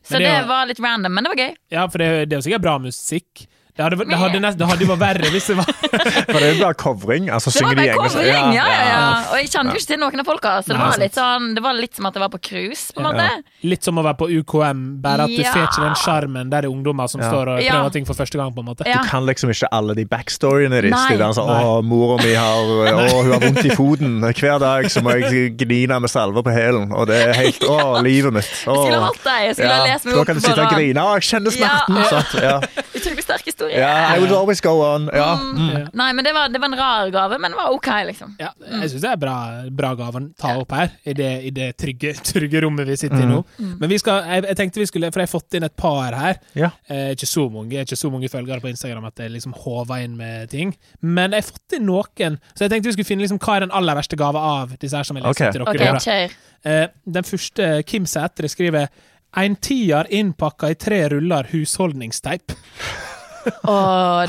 S3: Så
S1: Men
S3: det,
S1: det var-
S3: var litt random, men det var gøy.
S1: Ja, for det, det er jo sikkert bra musikk. Det hadde, det hadde, nest, det hadde jo vært verre hvis det var
S3: [LAUGHS]
S2: For det er jo bare covring. Altså,
S3: Det var
S2: synger de
S3: bare
S2: engelsk?
S3: covering, ja, ja, ja. Og jeg kjente jo ikke til noen av folka, så det
S1: Nei,
S3: var
S1: sant.
S3: litt sånn Det var litt som at jeg var på cruise, på en måte.
S1: litt som å være på UKM, bare at du
S3: Ja.
S1: får ikke den sjarmen der det er ungdommer som
S2: Ja.
S1: står og
S3: Ja.
S1: prøver ting for første gang, på en måte.
S3: Ja.
S2: Du kan liksom ikke alle de backstoryene deres.
S3: Nei.
S2: De der sånn, å, mora mi [LAUGHS] har, å, hun har vondt i foten. Hver dag så må jeg gnine med salver på hælen. Og det er helt Å, livet mitt. Å.
S3: Jeg skulle ha holdt deg, jeg skulle ha lest meg
S2: da
S3: opp
S2: kan du sitte og
S3: bare
S2: grine. Å, jeg kjenner smerten!
S3: Ja.
S2: Sant?
S3: [LAUGHS]
S2: Ja.
S3: Utrolig sterk historie.
S2: ja, I would always go on. Ja. Mm.
S1: Ja.
S3: Nei, men det var, det var en rar gave, men det var ok, liksom.
S1: Ja, jeg syns det er bra, bra gave å ta opp her, i det, i det trygge, trygge rommet vi sitter i nå. Men vi skal, jeg, jeg tenkte vi skulle, for jeg har fått inn et par her.
S2: Ja.
S1: Eh, ikke så mange jeg er ikke så mange følgere på Instagram at jeg liksom håver inn med ting. Men jeg har fått inn noen, så jeg tenkte vi skulle finne liksom, hva er den aller verste gava av disse her som jeg leser
S2: Ok.
S1: til dere.
S3: Ok,
S1: nå, da.
S3: kjør.
S1: Eh, den første Kim Sætre skriver en tier innpakka i tre ruller husholdningsteip.
S3: Å,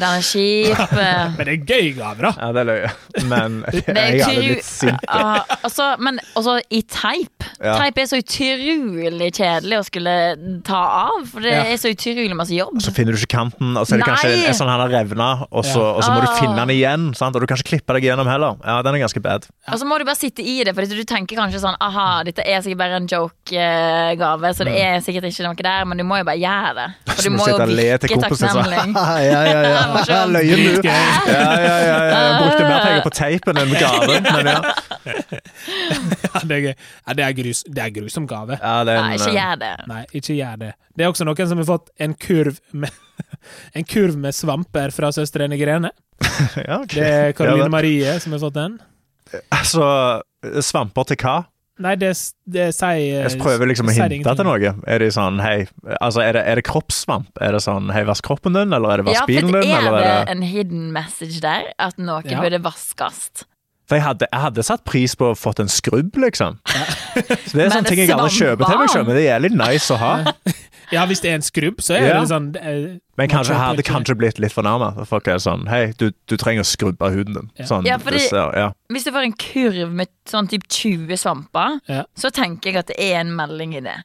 S3: den er kjip.
S1: [LAUGHS] Men det er gøy gave, da!
S2: Ja, det er løye.
S1: [LAUGHS]
S2: Men
S3: Det er
S2: jeg hadde
S3: utru-
S2: blitt sint.
S3: Ah, altså, men også i teip.
S2: Ja.
S3: Teip er så utrolig kjedelig å skulle ta av, for det
S1: Ja.
S3: er så utrolig masse jobb.
S2: Så finner du ikke kanten, og så er det kanskje
S3: Nei! Ah.
S2: en sånn han har revna, og så,
S1: Ja.
S2: og så må du
S3: Åh.
S2: finne den igjen. Sant? Og du kan ikke klippe deg gjennom heller. Ja, den er ganske bad.
S3: Og så Altså, må du bare sitte i det, for du tenker kanskje sånn Aha, dette er sikkert bare en joke-gave, så det er sikkert ikke noe der, men du må jo bare gjøre det. For
S2: Så
S3: du
S2: må
S3: må
S2: Mm. du
S3: jo
S2: sitte og le til
S3: virke
S2: kompisen altså. så,
S3: takknemlig.
S2: [LAUGHS] Ja, ja,
S3: [LAUGHS]
S2: ja.
S3: morsomt.
S2: Løye
S3: [LAUGHS]
S2: du. Ja,
S1: Dritgøy.
S2: ja, ja, ja. Jeg Brukte mer penger på teipen enn gaven. Men ja.
S1: Ja, det er gøy. Ja, det er, grus, det er grusom gave.
S2: ja det
S3: Nei, ikke
S2: er en,
S3: gjør det.
S1: Nei, ikke gjør det. Det er også noen som har fått en kurv med [LAUGHS] En kurv med svamper fra Søstrene Grene.
S2: ja, ok.
S1: Det er
S2: Ja,
S1: Karoline
S2: men-
S1: Marie som har fått den.
S2: Altså, svamper til hva?
S1: Nei, det, s- det sier
S2: Jeg prøver liksom å
S1: sier
S2: hinte
S1: ingenting.
S2: til noe. Er det sånn, hei, altså er det, er det kroppssvamp? Er det sånn, hei, vask kroppen din, eller er det
S3: Ja,
S2: vask
S3: for
S2: bilen din?
S3: er
S2: Eller
S3: det
S2: er det?
S3: en hidden message der? At noe
S1: Ja.
S3: burde vaskes?
S2: For jeg hadde, jeg hadde satt pris på å fått en skrubb, liksom. [LAUGHS] Så det er
S3: Men
S2: sånne ting jeg aldri kjøper til meg
S3: svamp.
S2: selv, men det er jævlig nice å ha.
S1: Ja, hvis det er en skrubb, så er
S2: Ja.
S1: det sånn eh,
S2: Men
S1: man
S2: kanskje jeg
S1: kjøper
S2: hadde
S1: ikke-
S2: kanskje blitt litt fornærmet. For folk er sånn, hei, du, du trenger å skrubbe huden din.
S1: Ja.
S2: Sånn,
S3: Ja,
S2: det
S3: fordi-
S2: ser, ja.
S3: Hvis du får en kurv med sånn typ 20 svamper,
S1: Ja.
S3: så tenker jeg at det er en melding i det.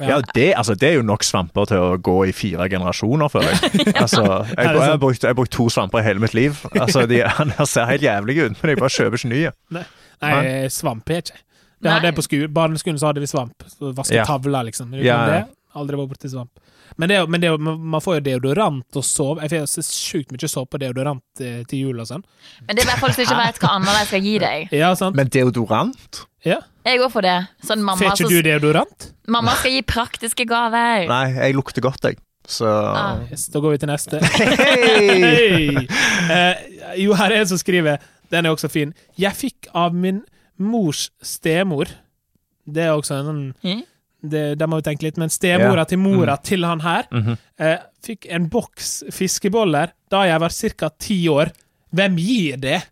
S1: Ja.
S2: Ja, det, altså, det er jo nok svamper til å gå i fire generasjoner, føler
S3: [LAUGHS]
S2: jeg. Altså, jeg, jeg, har brukt, jeg har brukt to svamper i hele mitt liv. Altså, de, [LAUGHS] han ser helt jævlig ut, men jeg bare kjøper ikke nye.
S1: Nei, eh, svamp er ikke. Det hadde
S3: Nei.
S1: jeg på sku- barneskolen, så hadde vi svamp. Så Vaske
S2: Ja.
S1: tavler, liksom. Utenom
S2: Ja, ja.
S1: det, aldri vært borti svamp. Men, det, er jo- men det, er jo- man får jo deodorant og sove. Jeg får så sjukt mye såpe og deodorant eh, til jul og sånn.
S3: Men det er bare folk som ikke vet hva annet de
S1: [LAUGHS]
S3: skal gi deg.
S1: Ja, sant?
S2: Men deodorant?
S1: Ja.
S3: Jeg går for det. Sånn mamma,
S1: Får ikke du
S3: så,
S1: deodorant?
S3: mamma skal gi praktiske gaver.
S2: Nei, jeg lukter godt, jeg. Så
S3: Ah.
S1: Yes, da går vi til neste.
S2: Hei!
S1: Hei! [LAUGHS] Eh, jo, her er en som skriver. Den er også fin. Jeg fikk av min mors stemor. Det er også en sånn
S3: Hm?
S1: det, der må vi tenke litt, men stemora
S2: Ja.
S1: til mora til han her eh, fikk en boks fiskeboller da jeg var ca. ti år. Hvem gir det?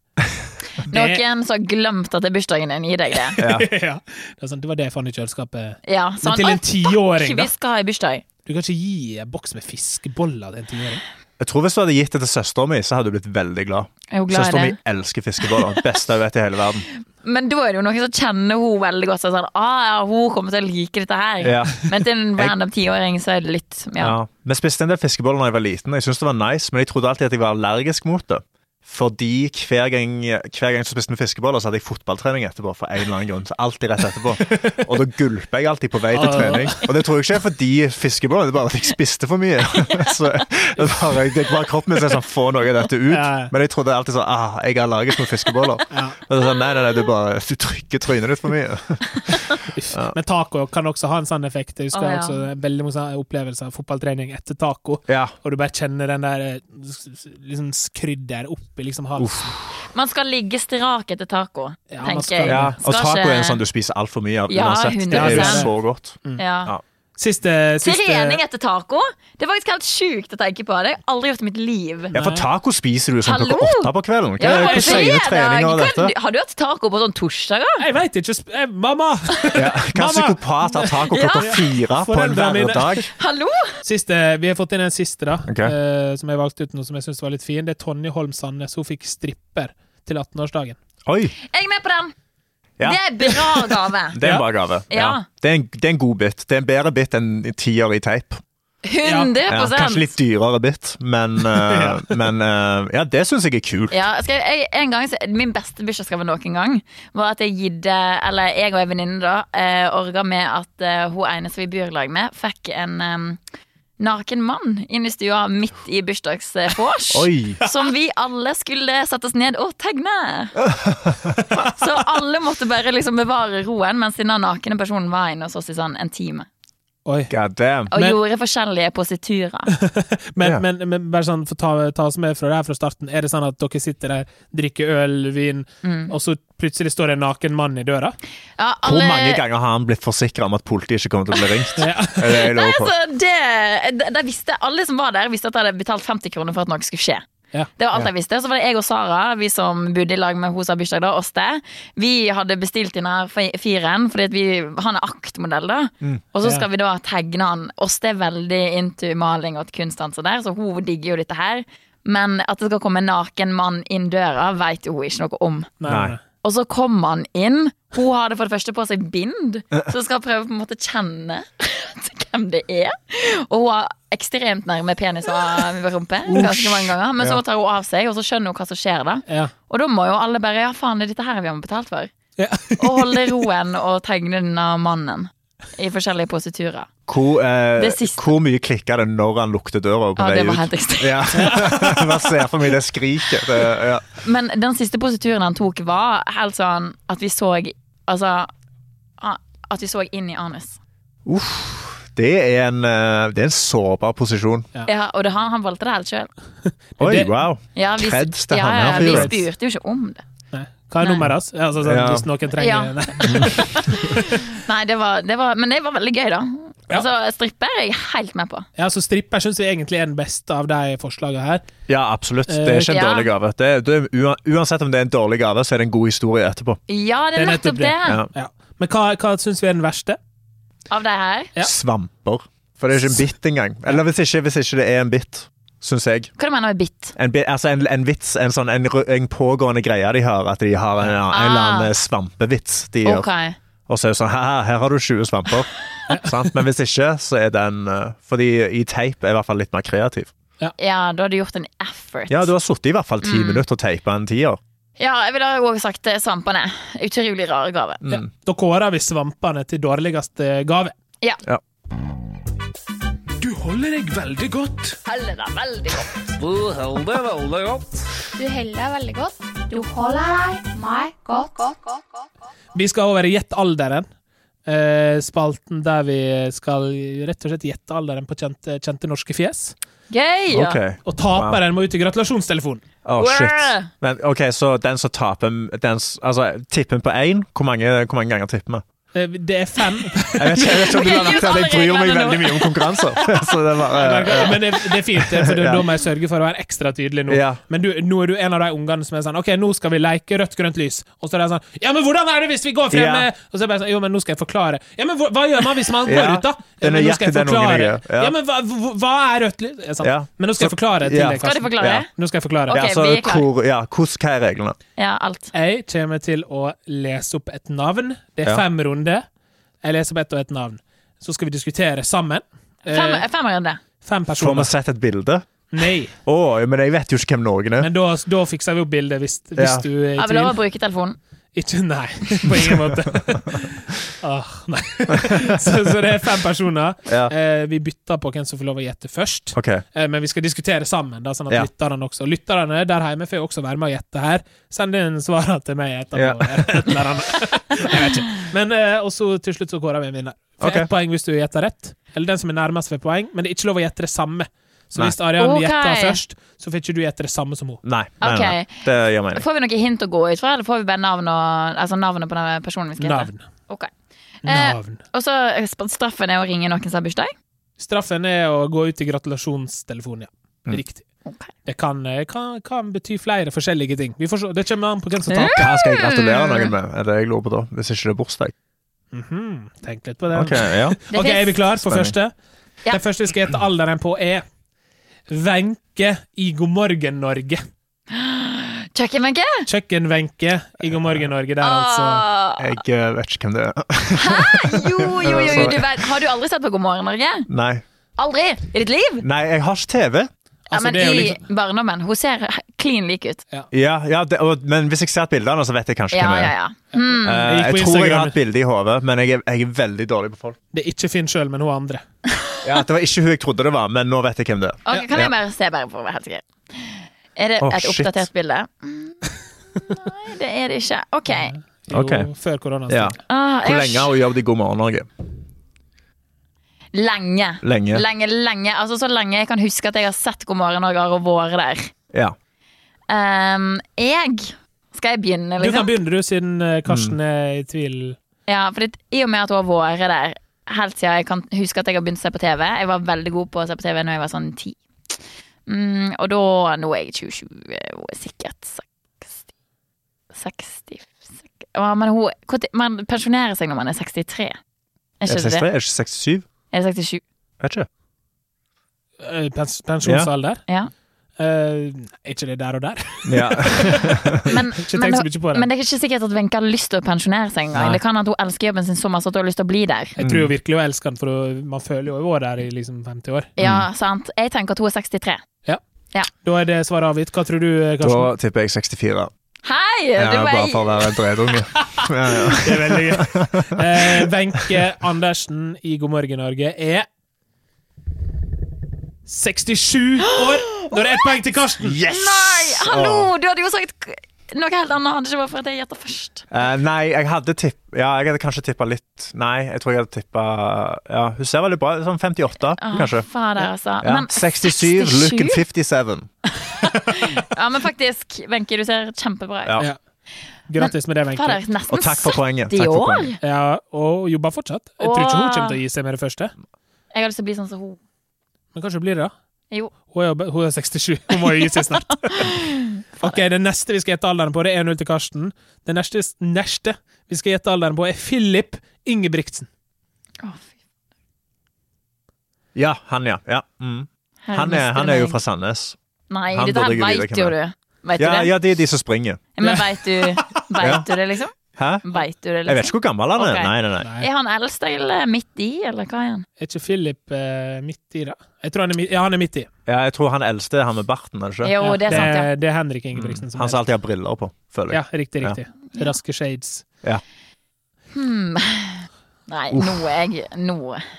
S1: det,
S3: Noen som har glemt at det er bursdagen din, gir deg
S1: [LAUGHS]
S3: det.
S1: ja. det, er sånn, det var det jeg fant i kjøleskapet.
S3: Ja,
S1: Men
S3: sånn,
S1: til en
S3: «Å,
S1: tiåring,
S3: fuck,
S1: da?
S3: Vi skal ha en bursdag.
S1: Du kan ikke gi en boks med fiskeboller til en tiåring.
S2: Jeg tror Hvis du hadde gitt det til søstera mi, så hadde du blitt veldig glad.
S3: Jeg er jo glad
S2: Søstera
S3: i
S2: mi
S3: det.
S2: elsker fiskeboller. Beste jeg vet i hele
S3: [LAUGHS]
S2: verden.
S3: Men da er det jo noen som kjenner hun veldig godt. Så er det sånn, ah, ja, hun kommer til å like dette her.
S2: Ja.
S3: Men
S2: [LAUGHS]
S3: til en random tiåring så er det litt ja.
S2: Ja. Vi spiste en del fiskeboller da jeg var liten. Jeg syntes det var nice, men jeg trodde alltid at jeg var allergisk mot det. Fordi hver gang, hver gang jeg spiste med fiskeboller, så hadde jeg fotballtrening etterpå. For en eller annen grunn, så alltid rett etterpå Og da gulpa jeg alltid på vei til
S1: Ah.
S2: trening. Og det tror jeg ikke er fordi fiskebollene, det er bare at jeg spiste for mye. [LAUGHS] Så det er bare, det er bare kroppen min som er sånn, få noe av dette ut.
S1: Ja.
S2: Men jeg trodde alltid sånn ah, jeg er allergisk mot fiskeboller. Men så, sa jeg, nei, nei, nei, du bare du trykker trynet ditt for mye.
S1: Uff. Men taco kan også ha en sånn effekt. Jeg husker
S3: Å, ja.
S1: også veldig mange opplevelser av fotballtrening etter taco.
S2: Ja.
S1: Og du bare kjenner den der eh, s- s- liksom krydder opp i liksom halsen.
S3: Man skal ligge strak etter taco,
S1: Ja, man
S3: tenker
S1: skal-
S3: jeg.
S2: ja. Og
S3: Skal
S2: taco
S3: ikke-
S2: er en sånn du spiser altfor mye av
S3: Ja, Mm.
S2: uansett. Det er jo
S1: 100%.
S2: så godt.
S3: Ja.
S2: Ja.
S1: Siste, Mm. siste
S3: Trening etter taco? Det er faktisk helt sjukt å tenke på. Det har jeg aldri gjort i mitt liv.
S2: Ja, for taco spiser du sånn
S3: Hallo?
S2: klokka åtte på kvelden. Hva,
S3: Ja,
S2: hva
S3: det er
S2: sier
S3: fredag.
S2: treninga og dette?
S3: Kan- Har du hatt taco på sånn torsdager?
S1: Jeg veit ikke! sp- eh, Mamma! [LAUGHS]
S2: Ja, hva
S1: Mamma!
S2: psykopat har taco klokka fire på en
S1: Foreldrene mine.
S2: hverdag?
S3: Hallo?
S1: Siste, Vi har fått inn en siste, da,
S2: Ok.
S1: eh, som jeg valgte ut nå, som jeg syns var litt fin. Det er Tonje Holm Sandnes. Hun fikk stripper til 18-årsdagen.
S2: Oi,
S3: Jeg er med på den.
S2: Ja.
S3: Det er en bra gave.
S2: det er en bra gave.
S3: Ja.
S2: Det, er en, det er en god bit. Det er en bedre bit enn tiår i teip.
S3: 100
S2: Ja, kanskje litt dyrere bit,
S3: [LAUGHS]
S2: men, eh, men eh, ja, det syns jeg er kult.
S3: Ja, skal jeg, jeg, en gang, så- Min beste bursdagsgave noen gang var at jeg gidde, eller jeg og en venninne da, eh, orga med at eh, hun ene som vi bor i lag med, fikk en em, naken mann inn i stua midt i bursdagsvors.
S2: [LAUGHS] Oi.
S3: Som vi alle skulle sette oss ned og tegne. Så alle måtte bare liksom bevare roen mens denne nakne personen var inne hos oss i sånn en time.
S1: Oi.
S2: God damn.
S3: Og
S1: Men-
S3: gjorde forskjellige positurer.
S1: Men,
S2: Ja.
S1: men, men bare sånn, for å ta, ta oss med fra det her fra starten. Er det sånn at dere sitter der, drikker øl, vin,
S3: Mm.
S1: og så plutselig står det en naken mann i
S3: [LAUGHS]
S1: døra?
S3: Ja,
S2: Hvor
S3: alle-
S2: mange ganger har han blitt forsikra om at politiet ikke kommer til å bli
S3: [LAUGHS]
S2: ringt?
S1: Ja.
S2: Er det jeg lurer på?
S3: Altså, det, de- de visste, alle som var der, visste at jeg hadde betalt 50 kroner for at noe skulle skje.
S1: Ja.
S3: Det var alt jeg visste. Så var det jeg og Sara, vi som bodde i lag med hun som har bursdag, da, oss det. Vi hadde bestilt inn her fi- firen, fordi at vi, han er aktmodell, da. Og så
S1: Ja.
S3: skal vi da tegne han. Oss det er veldig into maling og kunstdans og der, så hun digger jo dette her. Men at det skal komme en naken mann inn døra, veit jo hun ikke noe om.
S2: Nei.
S3: Og så kom han inn. Hun hadde for det første på seg bind, så skal prøve på en måte kjenne [LAUGHS] til hvem det er. Og hun har ekstremt nærme penis og rumpe ganske mange ganger. Men så tar hun av seg, og så skjønner hun hva som skjer da.
S1: Ja.
S3: Og da må jo alle bare Ja, faen, det er dette her vi har betalt for.
S1: Ja.
S3: Og holde roen og tegne denne mannen i forskjellige positurer.
S2: Hvor, eh,
S3: Det siste.
S2: hvor mye klikka det når han lukket døra på
S3: Ja,
S2: vei
S3: det var
S2: ut?
S3: helt ekstremt.
S2: Ja. [LAUGHS] Man ser for meg det skriket. Det, ja.
S3: Men den siste posituren han tok, var helt sånn at vi så Altså ah, At vi så inn i anus.
S2: Uff, det er en, eh, det er en sårbar posisjon.
S3: Ja, og det, han, han valgte det helt sjøl.
S2: Oi,
S1: Det-
S2: wow.
S3: Ja, vi,
S2: Kreds til
S3: ja,
S2: han her
S3: ja, vi
S2: fyren.
S3: spurte jo ikke om det.
S1: [LAUGHS] Nei. Hva er
S3: Nei.
S1: nummeret hans? Altså, sånn,
S2: Ja.
S1: Hvis noen trenger
S3: Ja.
S1: Nei.
S3: Nei, det var, det var, men det var veldig gøy, da.
S1: Ja.
S3: Altså, Stripper er jeg helt med på.
S1: [LAUGHS] Ja, så stripper syns vi egentlig er den beste av de forslagene her.
S2: Ja, absolutt. Det er ikke en
S3: Eh, Ja.
S2: dårlig gave. Det, er- det, er ua- uansett om det er en dårlig gave, så er det en god historie etterpå.
S3: Ja, det er nettopp det.
S2: Ja.
S1: Ja. Men hva, hva syns vi er den verste?
S3: Av de her.
S1: Ja.
S2: Svamper. For det er ikke en bit engang. Eller hvis ikke, hvis ikke det er en bit, syns jeg.
S3: Hva du mener du med bitt?
S2: En, bi- altså en, en vits, en, sånn, en, ru- en pågående greie de har, at de har en, en eller
S3: Ah.
S2: annen svampevits de gjør.
S3: Ok.
S2: Og så er det sånn Haha, her har du 20
S3: [LAUGHS]
S2: svamper. Sant? Men hvis ikke, så er den eh, Fordi i teip er i hvert fall litt mer kreativ.
S3: Ja, da har du gjort en effort.
S2: Ja, du har sittet i hvert fall ti
S3: Mm.
S2: minutter og teipa en tier.
S3: Ja, jeg ville òg sagt eh, svampene. Utrolig rare gave.
S1: Ja. Da kårer vi svampene til dårligste gave.
S3: Ja.
S4: Du holder deg veldig godt.
S3: Heller da, veldig godt.
S4: Du holder deg veldig godt.
S5: Du heller deg veldig godt. Du holder deg meg godt.
S1: Vi skal over i Gjett alderen. Eh, Spalten der vi skal rett og slett gjette alderen på kjente, kjente norske fjes.
S3: Gøy! ja.
S2: Ok.
S1: Og taperen må ut i gratulasjonstelefonen.
S2: Å, shit.
S3: Wow.
S2: Men, ok, Så den som taper den, s- Altså, tipper vi på én? Hvor, mange- hvor mange ganger tipper vi?
S1: Eh, Det er fem,
S2: Jeg vet ikke jeg vet ikke om du
S3: Ok,
S2: har lagt
S3: gjør
S2: til at jeg bryr
S3: alle
S2: meg
S3: reglene nå.
S2: veldig mye om
S3: [LAUGHS]
S2: konkurranser. [LAUGHS] Så det er bare eh,
S1: men det, det er fint, for
S2: [LAUGHS]
S1: da da må jeg sørge for å være ekstra tydelig nå.
S2: Ja.
S1: Men du, nå er du en av de ungene som er sånn OK, nå skal vi leke rødt-grønt lys. Og så er det sånn Ja, men hvordan er det hvis vi går frem
S2: Ja.
S1: med Og så er det bare sånn Jo, men nå skal jeg forklare. Ja, men hva, hva gjør man hvis man går
S2: Ja.
S1: ut, da?
S2: Det er
S1: Ja, men nå skal jeg
S2: nøyaktig den ungen
S1: forklare.
S2: jeg er.
S1: Ja.
S2: Ja.
S1: men hva, hva- hva er rødt lys? Ja, sant.
S2: Ja.
S1: Men nå skal jeg forklare til
S2: Ja.
S1: deg,
S3: Skal du
S1: Karsten.
S3: forklare?
S2: Ja.
S1: Nå skal jeg forklare.
S3: Ok,
S2: ja, så
S3: vi er klare.
S2: hvor, ja, hvordan, hva er reglene?
S3: Ja, alt.
S1: Jeg kommer til å lese opp et navn. Det er
S2: Ja.
S1: fem runder. Jeg leser opp ett og ett navn. Så skal vi diskutere sammen. Eh,
S3: Fem, fem runde.
S1: fem
S2: Får vi
S1: personer.
S2: sett et bilde?
S1: Nei.
S2: Å, men jeg vet jo ikke hvem noen er.
S1: Men da, da fikser vi opp bildet, hvis, hvis
S2: Ja.
S1: du er i
S3: Jeg vil lov å
S1: tvil.
S3: bruke telefonen.
S1: Ikke nei. [LAUGHS] På ingen måte. Åh, nei. [LAUGHS] Så, så det er fem personer.
S2: Ja.
S1: Eh, vi bytter på hvem som får lov å gjette først.
S2: Ok,
S1: Eh, Men vi skal diskutere sammen, da, sånn at
S2: Ja.
S1: lytterne også Lytterne der hjemme får jo også være med og gjette her. Send inn svarene til meg etterpå.
S2: Ja.
S1: eller et eller annet. Jeg vet ikke. Men eh, og så til slutt så kårer vi en vinner. For
S2: Ok.
S1: ett poeng hvis du gjetter rett. Eller den som er nærmest ved poeng, men det er ikke lov å gjette det samme. Så
S2: Nei.
S1: hvis Arian
S3: Ok.
S1: gjetter først, så får ikke du gjette det samme som hun.
S2: Nei, nei,
S3: Ok.
S2: nei. det gjør mening.
S3: Får vi noe hint å gå ut fra, eller får vi bare navn og, altså navnet på den personen vi skal hete?
S1: Navn.
S3: Ok. Eh,
S1: Navn.
S3: og så eh, straffen er å ringe noen som har bursdag?
S1: Straffen er å gå ut i gratulasjonstelefonen, ja.
S2: Mm.
S1: Riktig.
S3: Ok.
S1: Det kan, eh, kan, kan bety flere forskjellige ting. Vi får se. Det kommer an på hvem som tar
S2: Hva skal jeg gratulere noen med? Er det jeg lurer på da? Hvis ikke det er bursdag?
S1: Mhm, Tenk litt på det.
S2: Ok, ja.
S3: Det
S1: ok, er vi
S3: finnes-
S1: klar for
S2: Spenning.
S1: første?
S3: Ja.
S1: Den første vi skal gjette alderen på, er Wenche i God morgen Norge.
S3: Kjøkkenbenke?
S1: Kjøkken-Wenche i God morgen Norge der,
S3: Ah.
S1: altså.
S3: Åh,
S2: Jeg eh, vet ikke hvem det er. [LAUGHS]
S3: jo, jo, jo, jo, du vet. Har du aldri sett på God morgen, Norge?
S2: Nei,
S3: Aldri! I ditt liv?
S2: nei jeg har ikke TV.
S3: Ja,
S1: Altså,
S3: men
S1: det er jo
S3: i
S1: liksom-
S3: barndommen. Hun ser he- klin lik ut.
S2: Ja, ja det, og, Men hvis jeg ser et bilde av henne, så vet jeg kanskje
S3: Ja,
S2: hvem det
S3: ja,
S2: er.
S3: ja. Hmm.
S2: Eh,
S1: Jeg gikk på
S2: jeg tror jeg har
S1: Instagram.
S2: et bilde i hodet, men jeg er, jeg er veldig dårlig på folk.
S1: Det er ikke Finn sjøl, men hun andre.
S2: Ja, Det var ikke hun jeg trodde det var, men nå vet jeg hvem det er.
S3: Ok, kan
S2: Ja.
S3: jeg bare se bare for å være helt sikker? Er det
S2: Åh,
S3: et
S2: shit.
S3: oppdatert bilde? Mm, Nei, det er det ikke. Ok.
S1: Jo,
S2: Ok.
S1: Før koronaen.
S2: Ja.
S3: Ah, jeg
S2: Hvor
S3: har
S2: lenge har hun jobbet i God morgen Norge?
S3: Lenge.
S2: Lenge.
S3: Lenge, lenge. Altså så lenge jeg kan huske at jeg har sett God morgen Norge og vært der.
S2: Ja.
S3: Ehm, jeg Skal jeg begynne,
S1: Du kan
S3: liksom?
S1: begynne, du, siden eh, Karsten
S2: Mm.
S1: er i tvil.
S3: Ja, for det, I og med at hun har vært der helt siden jeg kan huske at jeg har begynt å se på TV. Jeg var veldig god på å se på TV når jeg var sånn ti. Mm, og da Nå er jeg 27, hun er sikkert 60 60 sek- Å, Men hun hvor tid- Man pensjonerer seg når man er 63. Er
S2: Er
S3: ikke
S2: det
S3: det det?
S2: 63? Er det ikke 67?
S3: Er det 67?
S2: Vet ikke.
S1: Eh, Pens pensjonsalder?
S3: Ja.
S1: Eh, er ikke det der og der? [LAUGHS]
S2: Ja.
S3: Men,
S1: Ikke
S3: men,
S1: tenk så mye på det.
S3: men det er ikke sikkert at Wenche har lyst til å pensjonere seg engang.
S2: Nei.
S3: Det kan at hun elsker jobben sin så masse at hun har lyst til å bli der.
S1: Jeg
S2: Mm.
S1: tror jo virkelig hun elsker den, for hun- man føler jo hun var der i liksom 50 år.
S3: Ja, sant? Jeg tenker at hun er 63.
S1: Da er det svaret avgitt. Hva tror du, eh,
S2: [LAUGHS] Da
S1: Karsten?
S2: [LAUGHS] tipper jeg 64.
S3: Hei!
S2: Ja,
S3: det var
S2: bare
S3: jeg.
S2: for å være en dredunge. Ja, ja.
S1: Det er veldig gøy. Eh, Wenche Andersen i God morgen Norge er 67 år! Da er det ett poeng til Karsten!
S2: Yes!
S3: [LAUGHS] Nei, hallo!
S2: Åh.
S3: Du hadde jo sagt k- noe helt annet hadde det ikke vært for at jeg gjetter først.
S2: Eh, nei, jeg hadde tipp... Ja, jeg hadde kanskje tippa litt Nei, jeg tror jeg hadde tippa Ja, hun ser veldig bra ut. Sånn 58,
S3: Å,
S2: kanskje.
S3: Fader, altså.
S2: Ja.
S3: Men
S2: 67, [LAUGHS] looking 57.
S3: Ja, men faktisk, Wenche, du ser kjempebra ut.
S2: Ja.
S1: Ja. Grattis med det, Wenche.
S3: Fader, nesten
S2: Og takk for poenget.
S3: 70
S2: Takk for
S3: år!
S2: poenget.
S1: Ja, og jobber fortsatt. Jeg tror ikke hun
S3: Åh.
S1: kommer til å gi seg med det første.
S3: Jeg har lyst til å bli sånn som hun.
S1: Men kanskje hun blir det, da.
S3: Jo.
S1: Hun er, hun er 67. Hun må jo gi seg
S3: [LAUGHS]
S1: snart. ok, Det neste vi skal gjette alderen på, det er 1-0 til Karsten. Det neste, neste vi skal gjette alderen på, er Philip Ingebrigtsen.
S3: Å, fy.
S2: Ja, han, ja. ja. Mm.
S3: Herre,
S2: Han, er,
S3: mister
S2: han er jo
S3: meg.
S2: fra Sandnes.
S3: Nei,
S2: han
S3: dette
S2: burde
S3: her
S2: ikke vite
S3: veit
S2: hvem
S3: jo
S2: er.
S3: du. Veit
S2: Ja,
S3: du det?
S2: ja, det er de som springer.
S3: Men veit du, vet
S2: Ja.
S3: du det, liksom?
S2: Hæ?
S3: Veit du det,
S2: Jeg vet
S3: liksom?
S2: ikke hvor gammel han er.
S3: Ok.
S2: Nei, nei, nei.
S1: Nei.
S3: Er han eldst eller midt i, eller hva er han?
S1: Er ikke Philip eh, midt i, da? Jeg tror han er, mi- ja, han er midt i.
S2: Ja, jeg tror han eldste er han med barten. er det ikke?
S3: Jo, det er sant, ja.
S1: det er Henrik Ingebrigtsen som
S2: Mm. Han
S1: er
S2: som alltid har briller på, føler jeg.
S1: Ja, riktig, riktig. Raske shades.
S3: Hmm. Nei, nå er jeg Nå.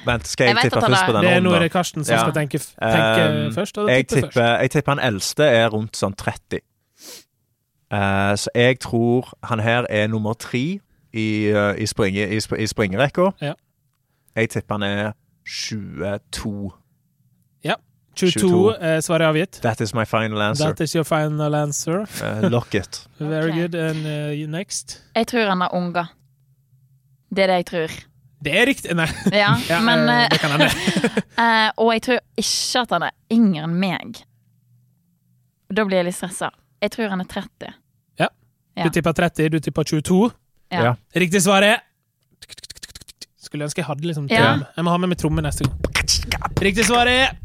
S2: Vent, skal
S3: Jeg vet
S2: jeg tippe
S3: at han
S2: først
S3: er-
S2: på
S1: Det
S2: denne
S1: er nå er
S2: runden?
S1: det Karsten som
S2: Ja.
S1: skal tenke, f- tenke
S2: Um,
S1: først. Og
S2: Jeg
S1: tippe først.
S2: tipper, jeg tipper han eldste er rundt sånn 30. Eh, så jeg tror han her er nummer tre i, eh, i, springe, i, sp i springrekka.
S1: Ja.
S2: Jeg tipper han er 22.
S1: 22,
S2: 22.
S1: eh, svaret er avgitt.
S2: That is my final answer.
S1: That is your final answer.
S2: Eh, lock it.
S1: Very
S3: Ok.
S1: good. And eh, you next.
S3: Jeg tror han har unger. Det er det jeg tror.
S1: Det er riktig! Nei,
S3: Ja,
S1: ja,
S3: men
S1: eh,
S3: eh,
S1: det kan hende.
S3: eh, Og jeg tror ikke at han er yngre enn meg. Da blir jeg litt stressa. Jeg tror han er 30. [LAUGHS] ja.
S1: Du tippa 30, du tippa 22.
S3: Ja.
S2: Ja.
S1: Riktig svar er Skulle ønske jeg hadde liksom
S3: Ja.
S1: tromme. Jeg må ha med meg tromme neste gang. Riktig svar er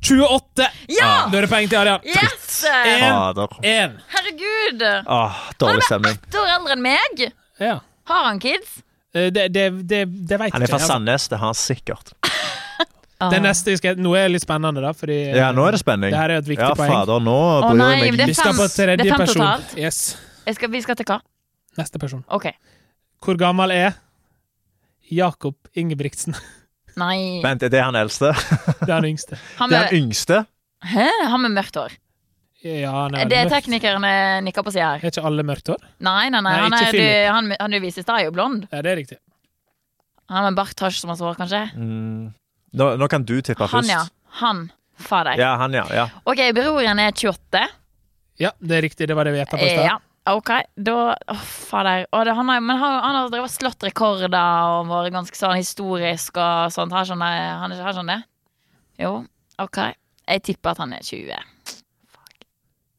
S1: 28!
S3: Ja!
S1: Da er det poeng til Arian.
S3: [LAUGHS] Yes!
S2: Fader.
S1: Én.
S3: Herregud!
S2: Ah, dårlig stemning.
S3: Ett år eldre enn meg!
S1: Ja.
S3: Har han kids?
S1: Eh, Det, det, det, det altså. veit
S2: Han er
S1: ikke
S2: fra
S1: jeg.
S2: Sandnes, det har han sikkert.
S1: Den neste vi skal, nå er det litt spennende, da. Fordi, eh,
S2: Ja, nå er det spenning.
S1: Det her er et viktig
S2: ja,
S1: poeng.
S2: fader, nå
S3: Å,
S2: bryr
S3: nei,
S2: jeg
S3: det-
S2: meg
S3: er
S1: Vi skal
S3: fem-
S1: på tredje
S3: det er fem
S1: person.
S3: totalt.
S1: Yes.
S3: Jeg skal, vi skal til hva?
S1: Neste person.
S3: OK.
S1: Hvor gammel er Jakob Ingebrigtsen? [LAUGHS]
S3: Nei.
S2: Vent, er det han eldste?
S1: Det er han yngste.
S3: Han
S2: Det er
S3: med,
S2: han yngste?
S3: hæ? han med mørkt hår.
S1: Ja, han er
S3: Det er
S1: mørkt.
S3: teknikeren eh, nikker på sida her.
S1: Er ikke alle mørkt hår?
S3: Nei, nei, nei.
S1: Nei,
S3: Han,
S1: ikke
S3: er, du,
S1: Philip.
S3: han, han du viste i stad, er jo blond.
S1: Ja, det er riktig.
S3: Han med bartasj som har hår, kanskje.
S2: Mm. Nå, nå kan du tippe først.
S3: Han, ja. Han. Fader.
S2: Ja, han, ja. ja.
S3: OK, broren er 28.
S1: Ja, det er riktig. Det var det vi gjetta på i
S3: Eh,
S1: stad.
S3: Ja. OK, da Å, fader. Å, det, han, har, men han, han har drevet og slått rekorder og vært ganske sånn historisk og sånt. Har ikke han det? Han er ikke- har ikke han det? Jo. OK. Jeg tipper at han er 20.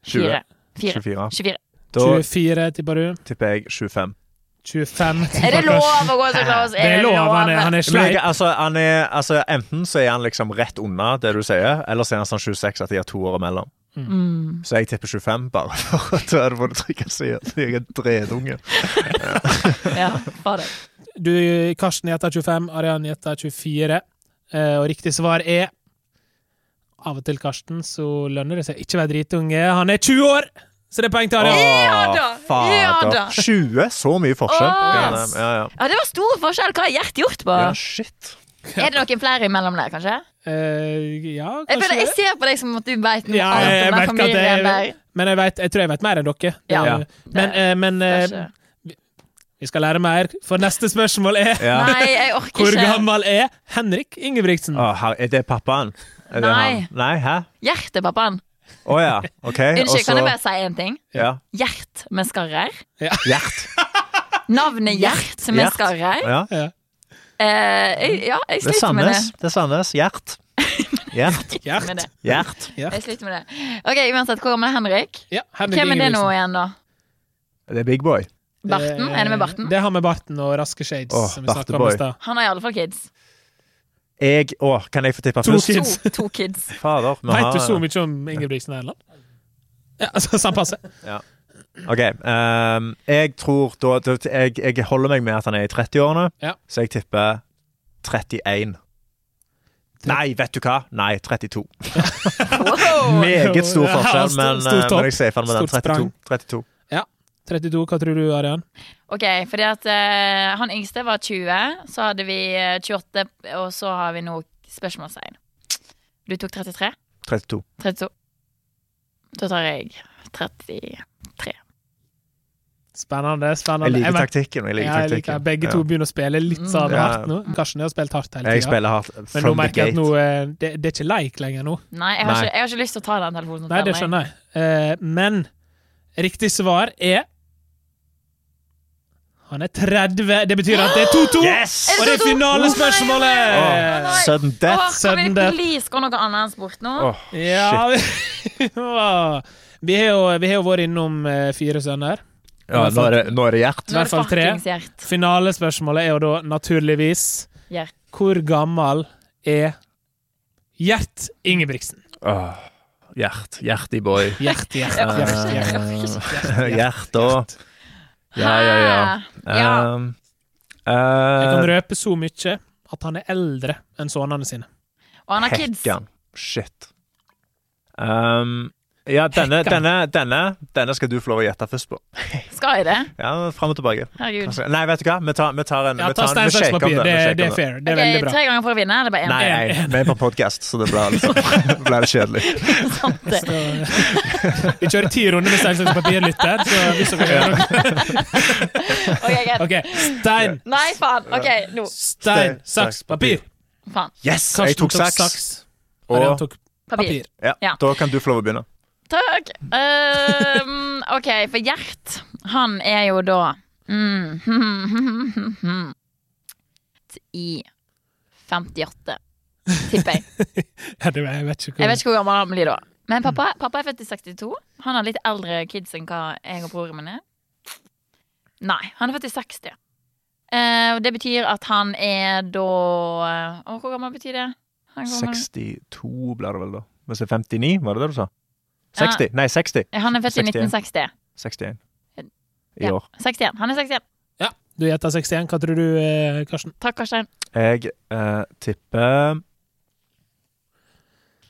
S2: 20.
S3: 4.
S2: 24.
S3: 24.
S2: Da
S1: 24, tipper du.
S2: tipper jeg 25.
S1: 25.
S3: Er det
S1: tipper
S3: lov altså,
S1: Karsten.
S3: å gå så close?
S1: Det er lov. Han er, han er
S2: Men jeg,
S1: sleip.
S2: altså, han er, altså, enten så er han liksom rett unna det du sier, eller så er han sånn 26 at de har to år imellom.
S3: Mm.
S2: Så jeg tipper 25, bare [LAUGHS] for at du hadde fått trykke seg at jeg er en dredunge.
S3: Ja, fader.
S1: Du, Karsten gjetter 25, Arian gjetter 24. Eh, Og riktig svar er Av og til, Karsten, så lønner det seg ikke å være dritunge. Han er 20 år! Så det er poeng til Arian.
S3: Ja da, ja
S2: fader.
S3: da.
S2: 20? Så mye forskjell.
S3: Åh.
S2: Ja, ja, ja.
S3: Ja, det var stor forskjell. Hva har Gjert gjort på?
S2: ja, shit.
S3: Er det noen flere imellom der, kanskje?
S1: Eh, ja,
S3: Jeg,
S1: kanskje
S3: føler,
S1: det.
S3: jeg ser på deg som at du veit noe
S1: Ja, jeg,
S3: alt om
S1: jeg,
S3: den
S1: merker at
S3: familien
S1: jeg,
S3: der.
S1: men jeg, vet, jeg tror jeg vet mer enn dere.
S3: Ja.
S1: Eh,
S2: Ja.
S1: Men, eh, men eh,
S3: Kanskje.
S1: vi skal lære mer, for neste spørsmål er
S2: Ja.
S3: Nei, jeg orker
S1: Hvor
S3: ikke.
S1: gammel er Henrik Ingebrigtsen?
S2: Å, her, er det pappaen? Er det
S3: Nei.
S2: han? Nei, hæ?
S3: Gjert er pappaen.
S2: Å ja, OK. og
S3: Unnskyld,
S2: så-
S3: kan jeg bare si én ting?
S2: ja.
S3: Gjert med skarrer.
S2: Gjert.
S3: Navnet Gjert med
S2: Gjert.
S3: skarrer.
S2: Ja.
S3: Eh, jeg- ja, jeg
S2: Det er
S3: sliter med det.
S2: Sandnes. Det er Sandnes.
S3: [LAUGHS]
S2: Gjert. Gjert.
S1: Gjert.
S3: Med det.
S2: Gjert.
S3: Jeg sliter med det. Ok, uansett, Hvor gammel er Henrik?
S1: Ja, Henrik
S3: Hvem er det nå
S1: Ingebrigtsen.
S3: igjen, da?
S2: Det er Big Boy.
S3: Barten? Er det med Barten?
S1: Det har med Barten og Raske Shades.
S2: Åh,
S1: som vi snakket om i
S2: Barteboy.
S1: stad.
S3: Han har i alle fall kids.
S2: Jeg Å, kan jeg få tippe
S1: To
S2: først?
S1: kids.
S3: To, to kids.
S2: Fader. vi
S1: Veit
S2: har-
S1: du så mye om Ingebrigtsen Erland? Ja, altså, Samme passe.
S2: OK. ehm, jeg tror da da- jeg, jeg holder meg med at han er i 30-årene,
S1: Ja.
S2: så jeg tipper 31. Nei, vet du hva? Nei, 32.
S3: Wow.
S2: Meget stor
S1: Ja,
S2: forskjell,
S1: stor-
S2: men,
S1: stor
S2: eh,
S1: topp.
S2: men jeg safer med den.
S1: Stort sprang.
S2: 32. 32.
S1: 32, hva tror du, Arian?
S3: Ok, fordi at eh, han yngste var 20, så hadde vi eh, 28, og så har vi nå spørsmålstegn. Du tok 33?
S2: 32.
S3: 32. Da tar jeg 30.
S1: Spennende.
S2: Jeg
S1: spennende.
S2: liker
S1: merker-
S2: taktikken. Jeg liker
S1: Ja, jeg liker.
S2: taktikken.
S1: Begge
S2: Ja.
S1: to begynner å spille litt
S3: Mm.
S1: sånn
S2: Ja.
S1: hardt nå. Karsten har spilt hardt hele
S2: Jeg
S1: tida.
S2: spiller hardt.
S1: Men nå
S2: From the
S1: merker jeg at
S2: gate.
S1: nå, eh, det, det er ikke leik lenger nå.
S3: Nei, jeg har,
S2: Nei.
S3: Ikke, jeg har ikke lyst til å ta den telefonen.
S1: Nei, det skjønner jeg. Eh, men riktig svar er Han er 30. Det betyr at det er 2-2!
S2: Yes!
S1: Og det er finalespørsmålet!
S2: Åh, sudden
S3: Åh,
S2: death.
S3: kan vi
S1: sudden death.
S3: please gå noe annet bort nå?
S2: Åh,
S1: Ja vi, [LAUGHS] Åh. vi, har jo, vi har jo vært innom eh, fire sønner.
S2: ja, nå, er det, nå er det Gjert.
S1: I hvert fall tre.
S3: fuckings Gjert.
S1: Finalespørsmålet er jo da naturligvis
S3: Gjert.
S1: Hvor gammel er Gjert Ingebrigtsen?
S2: Åh, Gjert. Gjertig boy.
S1: Gjert, Gjert, Gjert.
S3: [LAUGHS]
S1: Gjert, Gjert, Gjert.
S2: Gjert og Ja, ja, ja.
S3: Hæ? Ah, Ja.
S2: Um,
S1: Jeg kan
S2: eh,
S1: røpe så mye at han er eldre enn sønnene sine.
S3: Og han har kids.
S2: Hekkan. Shit. Um, ja, denne,
S1: Hekkan.
S2: denne, denne, denne skal du få lov å gjette først på.
S3: Skal jeg det?
S2: Ja, Fram og tilbake.
S3: Herregud.
S1: Altså,
S2: Kanskje- Nei, vet du hva? Vi tar, vi tar en
S1: Ja,
S2: vi
S1: ta
S2: tar en-
S1: stein,
S2: vi
S1: saks,
S2: shaker om
S1: papir.
S2: den, vi
S1: Det,
S2: shaker
S1: det
S2: om
S1: er
S2: den.
S1: fair. Det er
S3: Ok,
S1: veldig bra.
S3: Tre ganger for å vinne, eller bare én?
S1: [LAUGHS]
S2: Nei,
S1: En,
S2: nei, vi er på podkast, så det blir liksom,
S1: [LAUGHS]
S2: det blir kjedelig.
S3: Sant det.
S1: Vi kjører ti runder med stein, saks, papir, lytter. Så hvis dere gjør noe
S3: Ok, greit.
S1: OK. Stein,
S3: Nei, faen. OK, nå.
S1: stein, saks, papir.
S3: Faen.
S2: Yes, jeg
S1: Karsten tok
S2: tok saks.
S1: saks. Marianne
S2: Og
S1: tok
S3: Papir.
S1: papir.
S2: ja,
S3: Ja.
S2: da kan du få lov å begynne.
S3: Takk. Ehm, OK, for Gjert, han er jo da mm, [LAUGHS] I 58, tipper jeg.
S1: Ja, det, jeg vet ikke
S3: Jeg
S1: hvor
S3: vet ikke hvor gammel han blir da. Men pappa, pappa er født i 62. Han har litt eldre kids enn hva jeg og broren min er. Nei, han er født i 60. Eh, og det betyr at han er da eh, Å, hvor gammel betyr det? Han kommer-
S2: 62 blir det vel, da. Hvis det er 59, var det det du sa? 60? Nei, 60.
S3: Ja, Han er født
S2: 61.
S3: i 1960.
S2: 61. I
S3: Ja,
S2: år.
S3: 61. Han er 61.
S1: Ja, du gjetter 61. Hva tror du, eh, Karsten?
S3: Takk, Karstein.
S2: Jeg eh, tipper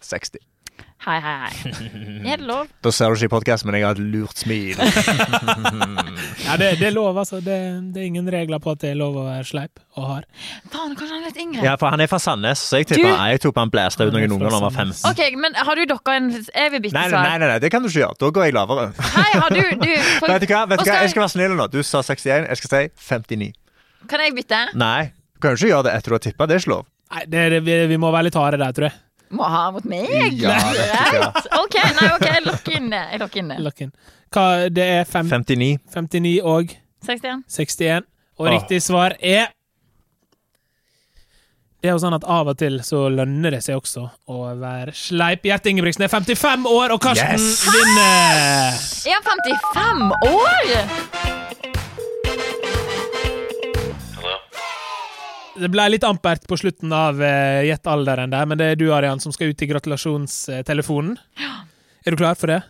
S2: 60.
S3: Hei, hei,
S2: [LAUGHS]
S3: hei. Er det lov?
S2: Da ser du ikke i podkasten, men jeg har et lurt smil.
S1: Ja, det, det er lov, altså. Det, det er ingen regler på at det er lov å være sleip og hard.
S3: Faen, kanskje han er litt yngre?
S2: Ja, for han er fra Sandnes, så jeg
S3: Du-
S2: tipper Nei, jeg tok han blæsta ut
S1: Han er
S2: noen
S1: fra
S2: unger da han var
S1: Sandnes.
S2: 15.
S3: OK, men har du dere en Jeg vil bytte
S2: Nei, nei, nei,
S3: svar.
S2: nei, nei, det kan du ikke gjøre. Da går jeg lavere.
S3: Hei, har du, du
S2: [LAUGHS]
S3: for,
S2: Vet du hva, vet
S3: Og
S2: du hva?
S3: skal-
S2: jeg skal være snill nå. Du sa 61, jeg skal si 59.
S3: Kan jeg bytte?
S2: Nei, du kan jo ikke gjøre det etter du har tippa. Det er ikke lov.
S1: Nei, det, det, vi, vi må være litt harde der, tror jeg.
S3: Må ha mot meg?
S2: Ja, vet du
S3: [LAUGHS]
S2: hva.
S3: Greit. OK, nei, ok, jeg lokker inn det. Jeg lokker inn det.
S1: Lock in. Hva, det er fem,
S2: 59.
S1: 59 og
S3: 61.
S1: 61, og
S2: Åh.
S1: riktig svar er det er jo sånn at Av og til så lønner det seg også å være sleip. Gjert Ingebrigtsen er 55 år, og Karsten
S2: Yes!
S1: vinner!
S3: Er han 55 år?!
S1: Det ble litt ampert på slutten av eh, gjett alderen der, men det er du, Arian, som skal ut i gratulasjonstelefonen. Er du klar for det?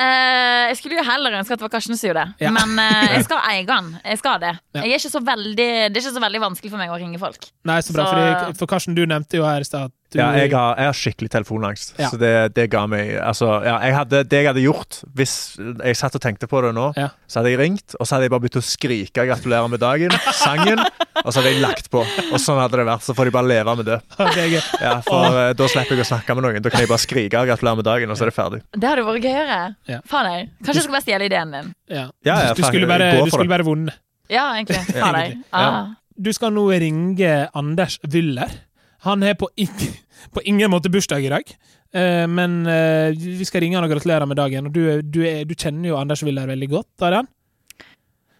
S3: Eh, jeg skulle jo heller ønske at det var Karsten som gjorde det,
S1: Ja.
S3: men
S1: [LAUGHS]
S3: eh, jeg skal eie han. Jeg skal det.
S1: Ja.
S3: Jeg er ikke så veldig, det er ikke så veldig vanskelig for meg å ringe folk.
S1: Nei, så bra,
S3: Så-
S1: fordi, for Karsten, du nevnte jo her i stad at du
S2: Ja, jeg har, jeg har skikkelig telefonangst,
S1: Ja.
S2: så det, det ga meg Altså, ja, jeg hadde, det jeg hadde gjort hvis jeg satt og tenkte på det nå,
S1: Ja. [LAUGHS]
S2: så hadde jeg ringt, og så hadde jeg bare begynt å skrike 'gratulerer med dagen', sangen, og så hadde jeg lagt på. Og sånn hadde det vært. Så får de bare leve med det.
S1: Det er gøy.
S2: Ja, for eh, da slipper jeg å snakke med noen. Da kan jeg bare skrike 'gratulerer med dagen', og så er det ferdig.
S3: Det hadde vært gøyere.
S1: Ja.
S3: Faen jeg. Kanskje jeg skal bare stjele ideen din.
S1: Ja.
S2: Ja, ja,
S1: du,
S2: fuck,
S1: skulle bare,
S2: gå for
S1: du skulle
S2: det.
S1: bare vunnet.
S3: Ja, egentlig. Faen jeg. Ah.
S1: Du skal nå ringe Anders Wyller. Han har på, ing- [LAUGHS] på ingen måte bursdag i dag, eh, men eh, vi skal ringe han og gratulere med dagen. Og du, er- du, er, du kjenner jo Anders Wyller veldig godt, Arian.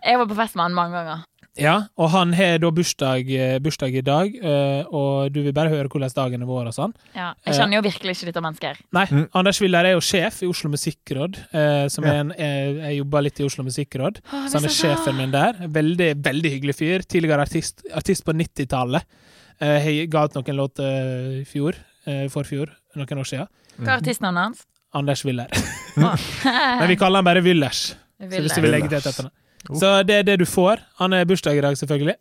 S3: Jeg var på fest med han mange ganger.
S1: Ja, og han har da bursdag, eh, bursdag i dag, eh, og du vil bare høre hvordan dagen er vår og sånn.
S3: Ja. Jeg kjenner jo virkelig ikke dette mennesket.
S1: Nei, Anders Willer er jo sjef i Oslo Musikkråd. Eh, som er en, eh, jeg jobber litt i Oslo Musikkråd, så han er sjefen min der. Veldig veldig hyggelig fyr. Tidligere artist, artist på 90-tallet. Eh, jeg ga ut noen låter i fjor. Eh, forfjor. Noen år siden.
S3: Hva er artistnavnet
S1: [LAUGHS]
S3: hans?
S1: Anders Willer. Men vi kaller han bare Willers. Så hvis du vil legge til et etternavn. Så det er det du får. Han er bursdag i dag, selvfølgelig.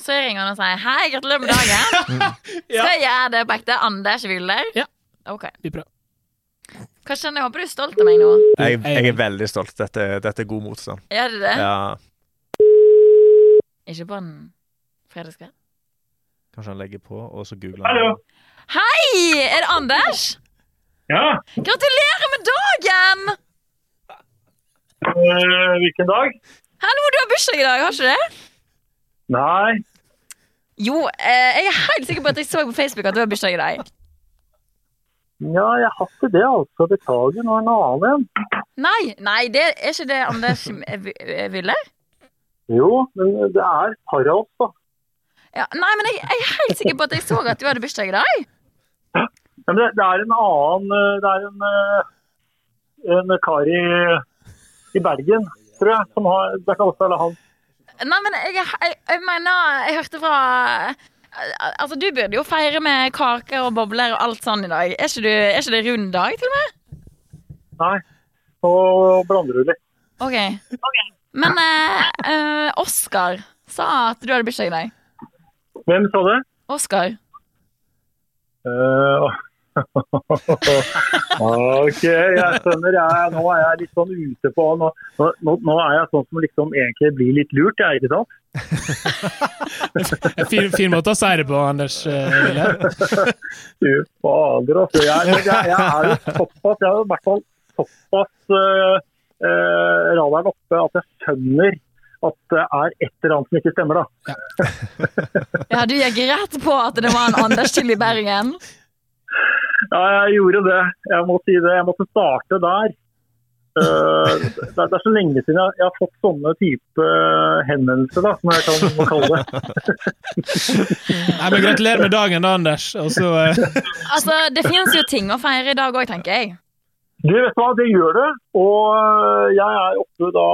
S3: Så jeg ringer han og sier hei, gratulerer
S1: [LAUGHS]
S3: med dagen. Skal jeg gjøre det på ekte? Anders Wilder?
S1: Mm. Ja.
S3: Ok.
S1: Vi prøver.
S3: Karsten, jeg håper du er stolt av meg nå.
S2: Jeg, jeg er veldig stolt. Dette, dette er god motstand.
S3: Er du det?
S2: Ja,
S3: Ikke på en fredagskveld?
S2: kanskje han legger på, og så googler han.
S3: Hei! Er det Anders?
S6: Ja,
S3: Gratulerer med dagen!
S6: øh, hvilken dag?
S3: Hallo, du har bursdag i dag, har ikke det?
S6: Nei,
S3: Jo, eh, jeg er helt sikker på at jeg så på Facebook at du har bursdag i dag.
S6: ja, jeg har ikke det altså. Beklager, nå er det en annen en.
S3: Nei, nei, det er ikke det Anders eh, vi- eh, ville.
S6: Jo, men det er par av oss, da.
S3: Ja, nei, men jeg, jeg er helt sikker på at jeg så at du hadde bursdag i dag.
S6: Men det, det er en annen eh, Det er en, eh, en kar i, i Bergen, tror jeg, som har Det er ikke oss eller han.
S3: Nei, men jeg, jeg, jeg mener Jeg hørte fra Altså, du burde jo feire med kaker og bobler og alt sånn i dag. Er ikke, du, er ikke det rund dag, til og med?
S6: Nei. Og blander du litt.
S3: OK. Men eh, eh, Oskar sa at du hadde bursdag i dag.
S6: Hvem sa det?
S3: Oskar.
S6: Eh, [LAUGHS] ok, jeg skjønner. Jeg, nå er jeg litt sånn ute på Nå, nå, nå er jeg sånn som liksom egentlig blir litt lurt, jeg, ikke sant?
S1: En Fin, fin måte å si det på, Anders. eh, Ville.
S6: Fy fader, altså. Jeg, men jeg, jeg er jo såpass Jeg er i hvert fall såpass eh, eh, radaren oppe at jeg skjønner at det er et eller annet som ikke stemmer, da.
S3: Ja, du gikk rett på at det var en Anders Kill i Bergen.
S6: Ja, jeg gjorde det. Jeg må si det. Jeg måtte starte der. Eh, det, er- det er så lenge siden jeg, jeg har fått sånne type eh, henvendelser, da, som jeg kan må kalle det.
S1: Nei, men Gratulerer med dagen, da, Anders. Og så eh,
S3: Altså, Det fins jo ting å feire i dag òg, tenker jeg.
S6: Du, vet du hva, det gjør det. Og øh, jeg er oppe da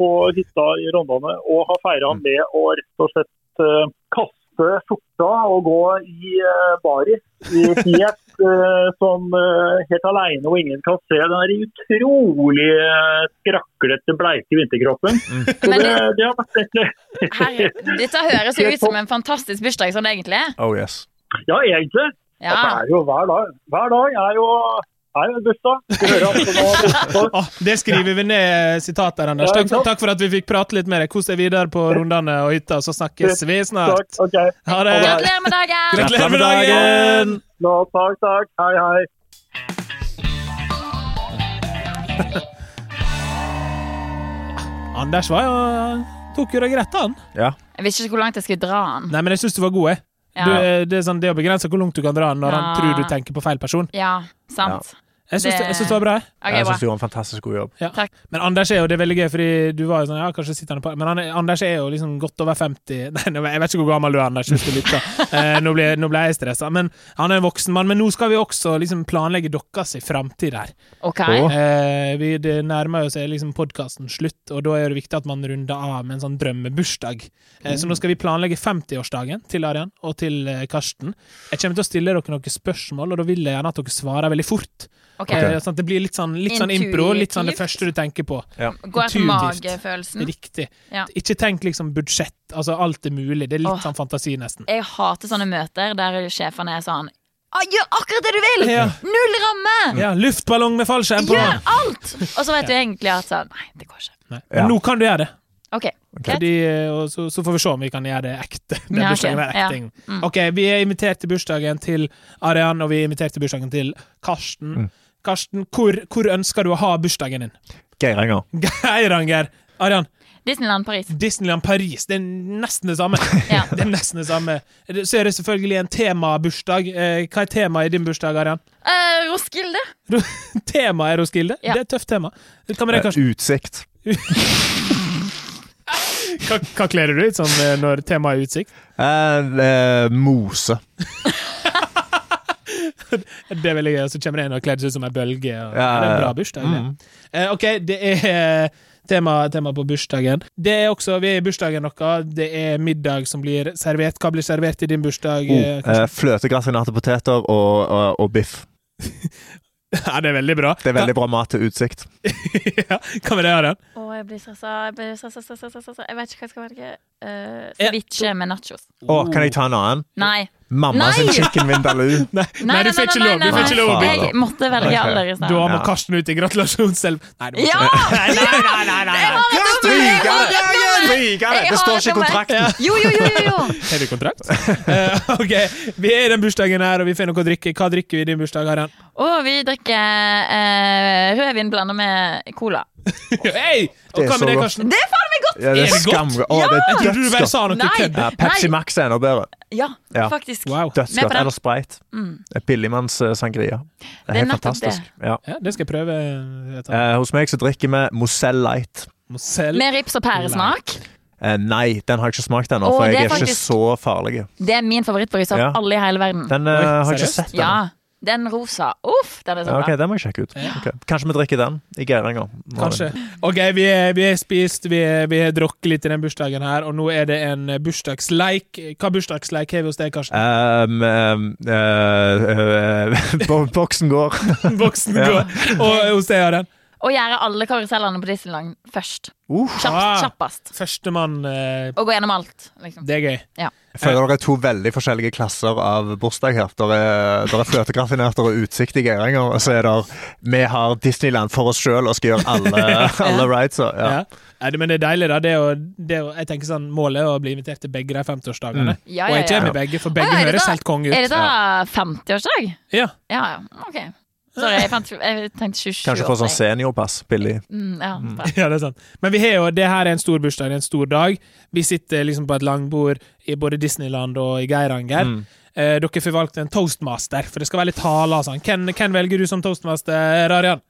S6: på hytta i Rondane og har feira han med å rett og slett øh, kaste skjorta og gå i øh, baris. I helt øh, som øh, helt aleine og ingen kan se. Den der utrolig øh, skraklete, bleike vinterkroppen. Så
S3: Men
S6: det,
S3: det-
S6: det har vært eh, egentlig
S3: Herre, dette høres jo ut som en fantastisk bursdag sånn egentlig.
S2: Oh yes.
S6: Ja, egentlig.
S3: Ja.
S6: Det er jo hver dag. Hver dag er jo er jo en bursdag. Skal høre at det nå-
S1: [LAUGHS] å, Det skriver vi ned eh, sitat der, Anders. Takk, takk for at vi fikk prate litt med deg. Kos deg videre på rundene og hytta, og så snakkes vi snart.
S6: Ok.
S1: Ha det!
S3: Gratulerer med dagen!
S1: Gratulerer med dagen!
S6: Nå, takk, takk. Hei, hei.
S1: Anders var jo tok jo det greit, han.
S2: Ja.
S3: Jeg visste ikke hvor langt jeg skulle dra den.
S1: Nei, men jeg syns du var god, jeg.
S3: Ja.
S1: Du, eh, det, er sånn, det å begrense hvor langt du kan dra den når han
S3: Ja.
S1: tror du tenker på feil person.
S3: Ja, sant.
S1: Jeg syns
S3: Det-
S1: det... jeg syns det var bra. jeg.
S3: Ok,
S2: jeg
S3: bra.
S2: syns du gjorde en fantastisk god jobb.
S1: Ja.
S3: Takk.
S1: Men Anders er jo det er veldig gøy, fordi du var jo sånn Ja, kanskje sitter han på Men han, er- Anders er jo liksom godt over 50 [LAUGHS] Nei, nå- jeg vet ikke hvor gammel du er, Anders, hvis du
S3: [LAUGHS]
S1: lytter. Eh, nå, ble, nå ble jeg stressa. Men han er en voksen mann. Men nå skal vi også liksom planlegge deres framtid her.
S3: Ok.
S2: Å.
S1: Eh, vi, det nærmer jo seg liksom podkasten slutt, og da er det viktig at man runder av med en sånn drømmebursdag. Eh, Så nå skal vi planlegge 50-årsdagen til Arian og til eh, Karsten. Jeg kommer til å stille dere noen spørsmål, og da vil jeg gjerne at dere svarer veldig fort.
S3: ok.
S1: Eh, sånn at det blir litt sånn, litt sånn impro, litt sånn det
S3: Intuitivt.
S1: første du tenker på.
S3: Gå etter
S1: intuitivt.
S3: magefølelsen.
S1: Riktig.
S3: Mm. Ja.
S1: Ikke tenk liksom budsjett, altså alt er mulig. Det er
S3: Åh.
S1: litt sånn fantasi, nesten.
S3: Jeg hater sånne møter der sjefene er sånn «Ah, Gjør akkurat det du vil!
S1: Ja.
S3: Null ramme!
S1: Ja, luftballong med fallskjerm på!
S3: Gjør alt! Og så vet du egentlig at sånn Nei, det går ikke.
S1: Nei.
S2: Ja.
S1: Men Nå kan du gjøre det.
S3: Ok, greit.
S1: Fordi, og så, så får vi se om vi kan gjøre det ekte. Den
S3: Ja, ok.
S1: bursdagen er
S3: Ja. Mm.
S1: ekte. Ok, Vi er invitert til bursdagen til Arian, og vi er invitert til bursdagen til Karsten. Karsten, hvor, hvor ønsker du å ha bursdagen din? [LAUGHS]
S2: Geiranger.
S1: Geiranger! Arian,
S3: Disneyland Paris.
S1: Disneyland Paris, det er nesten det samme.
S3: [LAUGHS] Ja.
S1: Det er nesten det samme. Så er det selvfølgelig en temabursdag. Eh, Hva er temaet i din bursdag, Arian?
S3: Eh, Roskilde.
S1: [LAUGHS] Temaet er Roskilde.
S3: Ja.
S1: Det er et tøft tema. Hva med deg, Karsten?
S2: eh, Utsikt.
S1: Hva, hva kler du deg ut som eh, når temaet er utsikt?
S2: Eh, eh, mose.
S1: Det er veldig gøy, og så kommer det en og kler seg ut som ei bølge. Og,
S2: Ja,
S1: Det er en
S2: ja, Mm.
S1: bra
S2: ja.
S1: bursdag. det. Eh, ok, det er eh, tema, tema på bursdagen. Det er også, Vi er i bursdagen noe. Det er middag som blir servert. Hva blir servert i din bursdag? eh,
S2: Oh, eh, Fløtegratinerte poteter og, og, og biff. eh.
S1: Karsten? [LAUGHS] ja, det er veldig bra.
S2: Det er veldig bra mat til utsikt.
S1: Hva, ja, hva med det, Arian?
S3: Å, jeg blir stressa. Jeg blir stressa, stressa, stressa, stressa. Jeg vet ikke hva jeg skal velge. Eh,
S1: Ja.
S3: ceviche med nachos.
S2: Å,
S1: Oh.
S2: kan jeg ta en annen?
S3: Nei.
S2: Mamma
S3: Nei!
S2: sin chicken
S3: [LAUGHS]
S2: vindaloo.
S1: Nei, nei, du får ikke lov! Du får ikke lov å
S2: nei.
S1: bytte.
S3: Jeg måtte velge alder i
S1: Da må
S3: stedet.
S2: Ja.
S1: Karsten ut i gratulasjonsselv. Nei, du må
S3: Ja!
S1: ikke. Nei, nei, nei, nei, nei, nei.
S2: Stryke det! Stryke det! Det står ikke i kontrakten.
S3: Jo, jo, jo, jo, jo.
S1: Har du kontrakt? Eh, ok, Vi er i den bursdagen her, og vi får noe å drikke. Hva drikker vi i din bursdag, Arian?
S3: Og vi drikker eh, rødvin blanda med cola.
S1: Hey! Og
S2: Det er
S1: hva
S2: så
S1: med det,
S2: godt.
S1: Karsten?
S3: Det er faen meg godt!
S2: Ja, det
S1: Er
S2: er
S1: det godt?
S2: skamgodt. Å, det
S1: Jeg
S2: er
S1: trodde du bare
S2: dødsgodt.
S1: sa noe
S3: Nei.
S1: kødd.
S2: Ja, Pepsi Max er enda bedre.
S3: Ja,
S2: Ja.
S3: faktisk.
S1: Wow.
S3: Med på
S2: Dødsgodt.
S3: den.
S2: Eller Sprite. Det er Billigmanns eh, sangria. Det
S3: Mm.
S2: er
S3: er
S2: helt
S3: nettopp
S2: fantastisk. Ja.
S1: Ja, det skal jeg prøve. eh, Jeg tar.
S2: Eh, hos meg så drikker vi Mosell Light.
S1: Mosell.
S3: Med rips og pæresmak.
S2: Eh, nei, den har jeg ikke smakt ennå,
S3: Å,
S2: for
S3: det
S2: jeg
S3: er
S2: er ikke
S3: faktisk-
S2: så farlig.
S3: Det er min favorittbrus av
S2: Ja.
S3: alle i hele verden.
S2: Den eh,
S1: Oi,
S2: har jeg
S1: seriøst?
S2: ikke sett ennå.
S3: ja, den rosa. Uff, den er så
S2: Ja, ok,
S3: bra.
S2: den må jeg sjekke ut. Ok. Kanskje vi drikker den i Geiranger. Nå-
S1: Kanskje. OK, vi er, vi er spist, vi er, vi er drukket litt i den bursdagen her, og nå er det en bursdagsleik. Hva bursdagsleik har vi hos deg,
S2: [LAUGHS]
S1: Karsten?
S2: Um, um, eh, eh, [LAUGHS] bo- boksen går.
S1: Voksen
S2: Ja.
S1: går. Og hos deg, Aren.
S3: Og gjøre alle karusellene på Disneyland først.
S2: Uff.
S3: Kjappest.
S1: Ah.
S3: kjappest.
S1: Førstemann. eh,
S3: Og gå gjennom alt. Liksom.
S1: Det er gøy.
S2: Jeg føler det er to veldig forskjellige klasser av bursdag her. Der er, der er fløtegratinerte og utsikt i Geiranger, og så er der Vi har Disneyland for oss sjøl og skal gjøre [LAUGHS] alle, alle rides. og-
S1: Ja.
S2: Ja.
S1: Nei, det- men det er deilig, da. Det er jo, det er jo, jeg tenker sånn, Målet er å bli invitert til begge de
S2: Mm.
S1: 50-årsdagene.
S3: Ja,
S1: Og
S3: ja,
S1: jeg
S3: ja.
S1: kommer i begge, for begge
S3: Å, ja, er det
S1: høres
S3: da-
S1: helt konge
S3: Er det
S1: ut.
S3: da 50-årsdag?
S1: Ja.
S3: Ja, ja. Ok. Sorry, jeg, fant, jeg tenkte 27
S2: Kanskje få sånn seniorpass billig.
S3: Mm, ja, bra.
S1: Ja, det er sant. Men vi har jo, det her er en stor bursdag, det er en stor dag. Vi sitter liksom på et langbord i både Disneyland og i Geiranger. Eh, dere får valgt en toastmaster, for det skal være litt taler og sånn. Hvem, hvem velger du som toastmaster, Arian?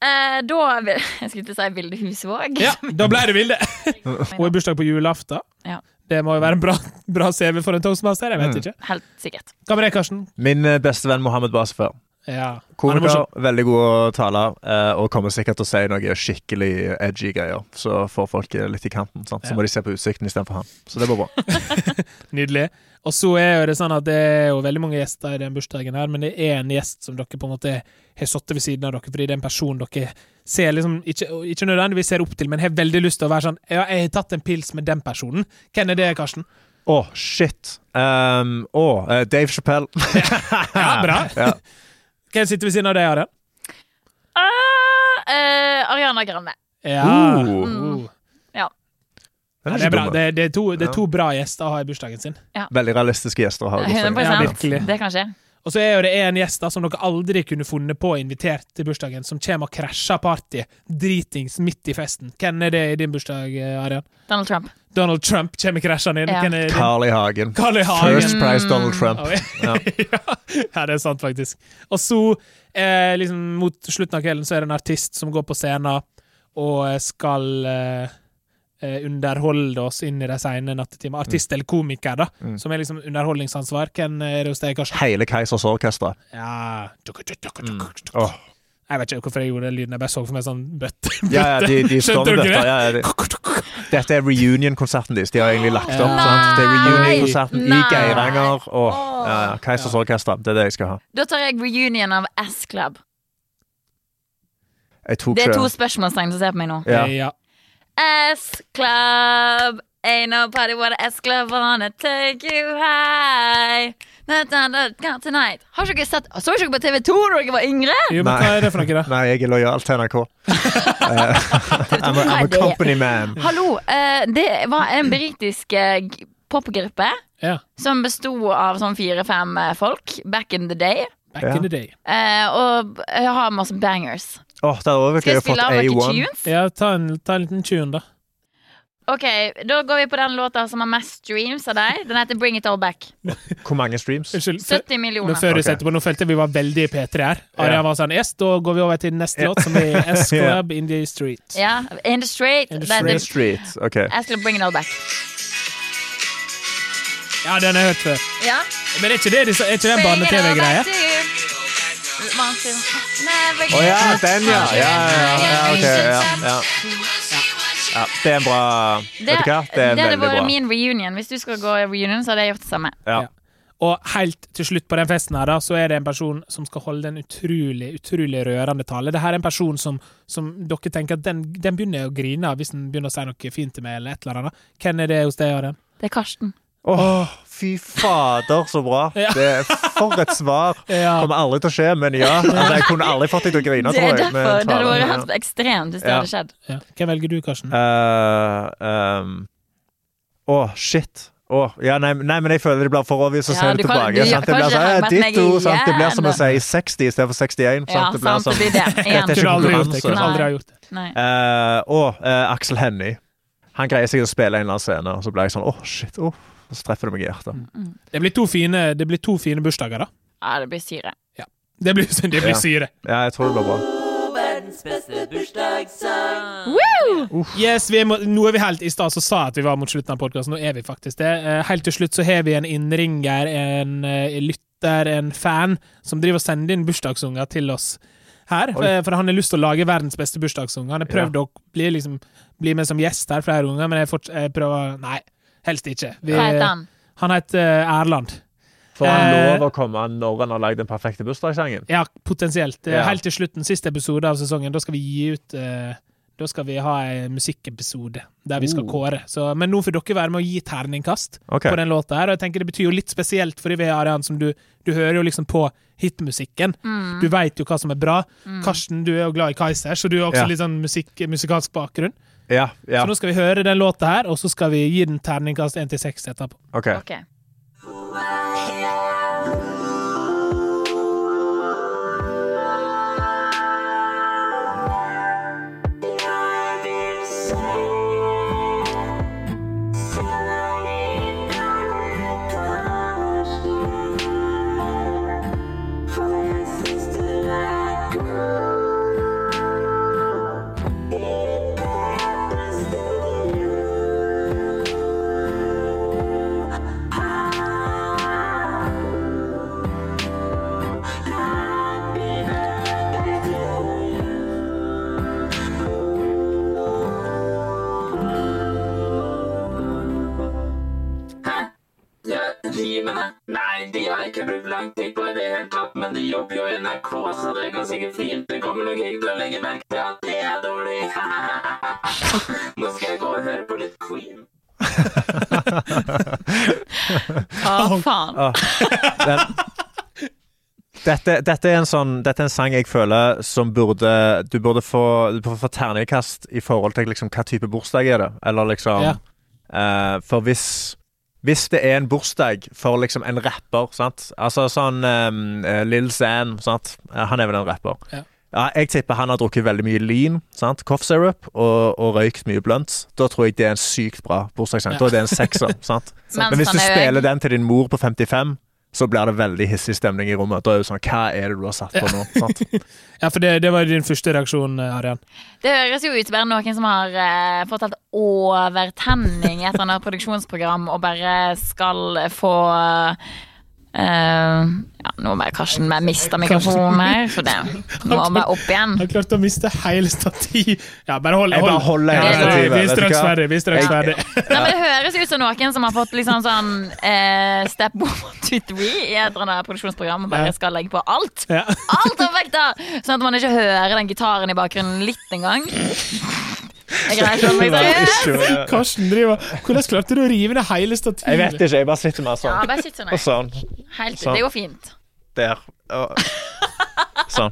S3: Eh, da vil, Jeg skulle til å si Vilde Husvåg.
S1: Ja, da ble det
S3: [LAUGHS]
S1: Vilde! Hun har bursdag på julaften.
S3: Ja.
S1: Det må jo være en bra, bra CV for en toastmaster, jeg vet ikke.
S3: Helt sikkert.
S1: Hva med deg, Karsten?
S2: Min eh, beste venn Mohammed Basfer.
S1: Ja. Han er
S2: Komiker,
S1: morsom.
S2: veldig god taler, eh, og kommer sikkert til å si noe skikkelig edgy greier. Så får folk eh, litt i kanten. Sant? Så
S1: Ja.
S2: må de se på utsikten istedenfor han. Så det blir bra.
S1: Nydelig. Og så er jo det sånn at det er jo veldig mange gjester i den bursdagen her, men det er en gjest som dere på en måte har sittet ved siden av dere, fordi det er en person dere ser liksom ikke, ikke nødvendigvis ser opp til, men har veldig lyst til å være sånn Ja, jeg har tatt en pils med den personen. Hvem er det, Karsten?
S2: Å, shit. Um, å, eh, Dave Chappelle. [LAUGHS]
S1: Ja, bra.
S2: Ja.
S1: Hvem sitter ved siden av deg, Arian?
S3: Ah, eh, Ariana Grande.
S1: Ja.
S2: Oh.
S1: Oh.
S2: Den
S1: Ja,
S2: er
S1: det
S2: ikke
S1: er bra.
S2: dum.
S1: Det, det, er to, det er to bra gjester å ha i bursdagen sin.
S2: Veldig realistiske gjester å ha. i bursdagen.
S3: 100
S1: Ja, virkelig.
S3: Det kan skje.
S1: Og så er jo det en gjest da som dere aldri kunne funnet på å invitere til bursdagen, som kommer og krasjer partyet dritings midt i festen. Hvem er det i din bursdag, Arian?
S3: Donald Trump.
S1: Donald Trump kommer krasjende inn.
S3: Ja.
S1: Hvem er din?
S2: Carl I. Hagen.
S1: Carl I. Hagen.
S2: First Prize Donald Trump.
S1: Oi. [LAUGHS] ja. det er sant, faktisk. Og så, eh, liksom, mot slutten av kvelden, så er det en artist som går på scenen og eh, skal eh, eh, underholde oss inn i de sene nattetimer.
S2: Mm.
S1: Artist eller komiker, da, som er liksom underholdningsansvar. Hvem eh, er det hos deg, Karsten?
S2: Hele Keisers Orkester.
S1: Ja. Tuk, tuk, tuk, tuk, tuk, tuk.
S2: Mm. Åh.
S1: Jeg vet ikke hvorfor jeg gjorde den lyden. Jeg bare så for meg sånn bøtte.
S2: [LAUGHS] Ja, ja, de, de står
S1: Skjønte
S2: med
S1: dere
S2: dette.
S1: det?
S2: Ja, ja, de. Dette er reunion-konserten deres. De har egentlig lagt opp.
S1: Nei!
S2: Sant? Det er reunion-konserten i
S3: Nei!
S2: Geiranger. Åh,
S3: Åh.
S2: ja, ja, Keisers Orkester. Det er det jeg skal ha.
S3: Da tar jeg reunion av S-Club.
S2: Jeg tok
S3: Det er to
S2: ikke
S3: spørsmålstegn som ser på meg nå.
S2: ja.
S1: Ja.
S3: S-Club. Ain't nobody what S-Club wanna take you high. Na, na, na, na, Tonight. Har ikke dere sett Så ikke dere på TV 2 da dere var yngre?
S1: Jo, men
S2: Nei.
S1: hva er det for noe, da?
S2: [LAUGHS] Nei, jeg er lojal til NRK. Eh, I'm, a, I'm a company man.
S3: Hallo. eh, det var en britisk eh, g- popgruppe
S1: Ja.
S3: som besto av sånn fire-fem eh, folk back in the day.
S1: Back
S2: Ja.
S1: in the day.
S3: Eh, og b- har masse bangers.
S2: Åh, det hadde vært
S3: Skal
S2: gøy å
S3: jeg
S2: fått
S3: spille av noen
S2: A1.
S3: tunes?
S1: Ja, ta en, ta en liten tune, da.
S3: Ok, Da går vi på den låta som har mest streams av deg. Den heter Bring It All Back.
S2: Hvor mange streams?
S1: Unnskyld. før-
S3: 70
S1: Men
S3: millioner.
S1: før du
S2: Ok.
S1: setter på, nå følte jeg vi var veldig i P3 her. Arian
S2: Ja.
S1: var sånn Yes, da går vi over til neste låt, som
S2: [LAUGHS]
S1: er S Club In The Street.
S3: Ja, In the Street.
S1: In the
S3: Den heter-
S2: Street. Ok.
S3: Jeg skal bring it all back.
S1: Ja, den har jeg hørt før.
S3: Ja.
S1: Men er ikke det disse- er ikke det en
S3: Bring it all
S1: barne-TV-greie?
S3: back to you. One, two, never
S2: Å ja,
S3: get-
S2: den, ja. Ja, ja, ja, ja, ok, ja, ja. ja. Det er en bra Vet du hva? Det er
S3: det hadde
S2: veldig bra.
S3: vært min reunion. Hvis du skal gå i reunion, så hadde jeg gjort det samme.
S2: Ja.
S1: Ja. Og helt til slutt på den festen her, da, så er det en person som skal holde en utrolig utrolig rørende tale. Det her er en person som, som dere tenker at den, den begynner å grine av hvis den begynner å si noe fint til meg, eller et eller annet. Hvem er det hos deg, Arian?
S3: Det er Karsten.
S2: Åh, fy fader, så bra.
S1: Ja.
S2: Det er for et svar.
S1: Ja.
S2: Kommer aldri til å skje, men ja. Altså, jeg kunne aldri fått deg til å grine,
S3: Det
S2: tror
S3: er
S2: jeg. med
S3: derfor. Det hadde
S2: talen,
S3: vært
S2: ja.
S3: helt ekstremt hvis det
S2: Ja.
S3: hadde skjedd.
S1: Ja. Hvem velger du, Karsten?
S2: Eh, ehm. Åh, shit. Åh, ja, nei, nei, men jeg føler det blir for obvious å
S3: Ja,
S2: se det
S3: du kan-
S2: tilbake.
S3: du-
S2: sant? Det
S3: kanskje
S2: blir sånn,
S3: jeg
S2: eh,
S3: har vært meg
S2: ditto, sant? Det blir som å
S3: igjen.
S2: si 60 istedenfor 61. Sant?
S3: Ja,
S2: det blir
S3: sant,
S2: sånn.
S3: det
S2: [LAUGHS]
S3: blir det.
S2: Dette er
S3: Igjen.
S2: ikke
S1: Kunne aldri gjort det.
S2: konkurranse.
S1: Kunne aldri
S3: Nei.
S1: ha gjort det.
S2: Eh,
S3: Nei.
S2: og eh, Aksel Hennie. Han greier sikkert å spille en eller annen scene, og så blir jeg sånn åh, shit. åh. Og så treffer det meg i hjertet.
S3: Mm.
S1: Det blir to fine, det blir to fine bursdager, da.
S3: Ja, det blir syre.
S1: Det blir, det blir syre.
S2: Ja, jeg tror det blir bra.
S7: Verdens verdens beste bursdagssang.
S3: Woo!
S1: Yes, vi er, mot- nå er vi helt I stad så sa jeg at vi var mot slutten av podkasten, nå er vi faktisk det. Eh, Helt til slutt så har vi en innringer, en eh, lytter, en fan, som driver og sender inn bursdagssanger til oss her. For,
S2: Oi.
S1: for han har lyst til å lage verdens beste bursdagssang. Han har prøvd å bli, liksom, bli med som gjest her flere ganger, men jeg, forts- jeg prøver Nei, helst ikke. Vi,
S3: Hva heter han?
S1: han heter eh, Erland.
S2: Får han
S1: Eh.
S2: lov å komme når han har lagd den perfekte bursdagssangen?
S1: Ja, potensielt. Eh,
S2: Ja.
S1: Helt til slutten, siste episode av sesongen, da skal vi gi ut eh, Da skal vi ha en musikkepisode der vi skal
S2: Oh.
S1: kåre. Så, men nå får dere være med å gi terningkast
S2: Ok.
S1: på den låta her. Og jeg tenker det betyr jo litt spesielt, fordi vi har en som du Du hører jo liksom på hitmusikken. Du veit jo hva som er bra. Karsten, du er jo glad i Kaiser, så du har også
S2: Ja.
S1: litt sånn musikk, musikalsk bakgrunn.
S2: Ja. ja.
S1: Så nå skal vi høre den låta her, og så skal vi gi den terningkast 1 til 6 etterpå.
S2: OK.
S3: Ok.
S7: Nei, de har ikke brukt lang tid på det helt tatt, men de jobber jo i NRK, så det går sikkert fint. Det kommer nok ikke til å legge merke til at det er dårlig. Nå skal jeg gå og høre på litt Queen.
S3: Å, faen.
S2: Den, dette, dette, er en sånn, dette er en sang jeg føler som burde Du burde få, du burde få terningkast i forhold til liksom, hva type bursdag er det. Eller liksom
S1: Ja.
S2: eh, For hvis hvis det er en bursdag for liksom en rapper sant? Altså sånn um, Lill Zan sant? Eh, Han er vel en rapper.
S1: Ja.
S2: Ja, jeg tipper han har drukket veldig mye lean, sant? cough syrup, og, og røykt mye blunt. Da tror jeg det er en sykt bra bursdagssang. Da er det en sekser. [LAUGHS] sant?
S3: Mens
S2: Men hvis
S3: han
S2: du
S3: er jo
S2: spiller
S3: egentlig-
S2: den til din mor på 55, så blir det veldig hissig stemning i rommet. Da er det sånn Hva er det du har satt på nå? Sant?
S1: Ja, for det, det var din første reaksjon, eh, Arian.
S3: Det høres jo ut som bare noen som har eh, fått helt overtenning etter han har et produksjonsprogram og bare skal få eh, ja, nå må bare Karsten bare miste mikrofonen her, for det må han bare opp igjen.
S1: Jeg klarte å miste hele stativ. Ja, bare hold.
S2: Jeg bare holder
S1: Ja,
S2: hele
S1: ja, ja,
S2: stativet,
S1: Vi er
S2: vet du
S1: straks
S2: hva?
S1: ferdig. Vi er straks ferdig.
S3: Nei, men Det høres ut som noen som har fått liksom sånn eh, step one, [LAUGHS] two, three i et eller annet produksjonsprogram og
S1: Ja.
S3: bare skal legge på alt.
S1: Ja.
S3: Alt av vekter! Sånn at man ikke hører den gitaren i bakgrunnen litt
S1: [LAUGHS]
S3: engang. Jeg greier ikke å holde meg seriøs.
S1: Karsten driver Hvordan klarte du å rive ned hele stativet?
S2: Jeg vet ikke, jeg bare sitter mer
S3: Ja,
S2: sånn.
S3: bare sitt sånn
S2: Og
S1: Altså,
S3: her.
S2: sånn.
S3: Helt,
S2: sånn.
S3: det går fint.
S2: Der. Og- Sånn.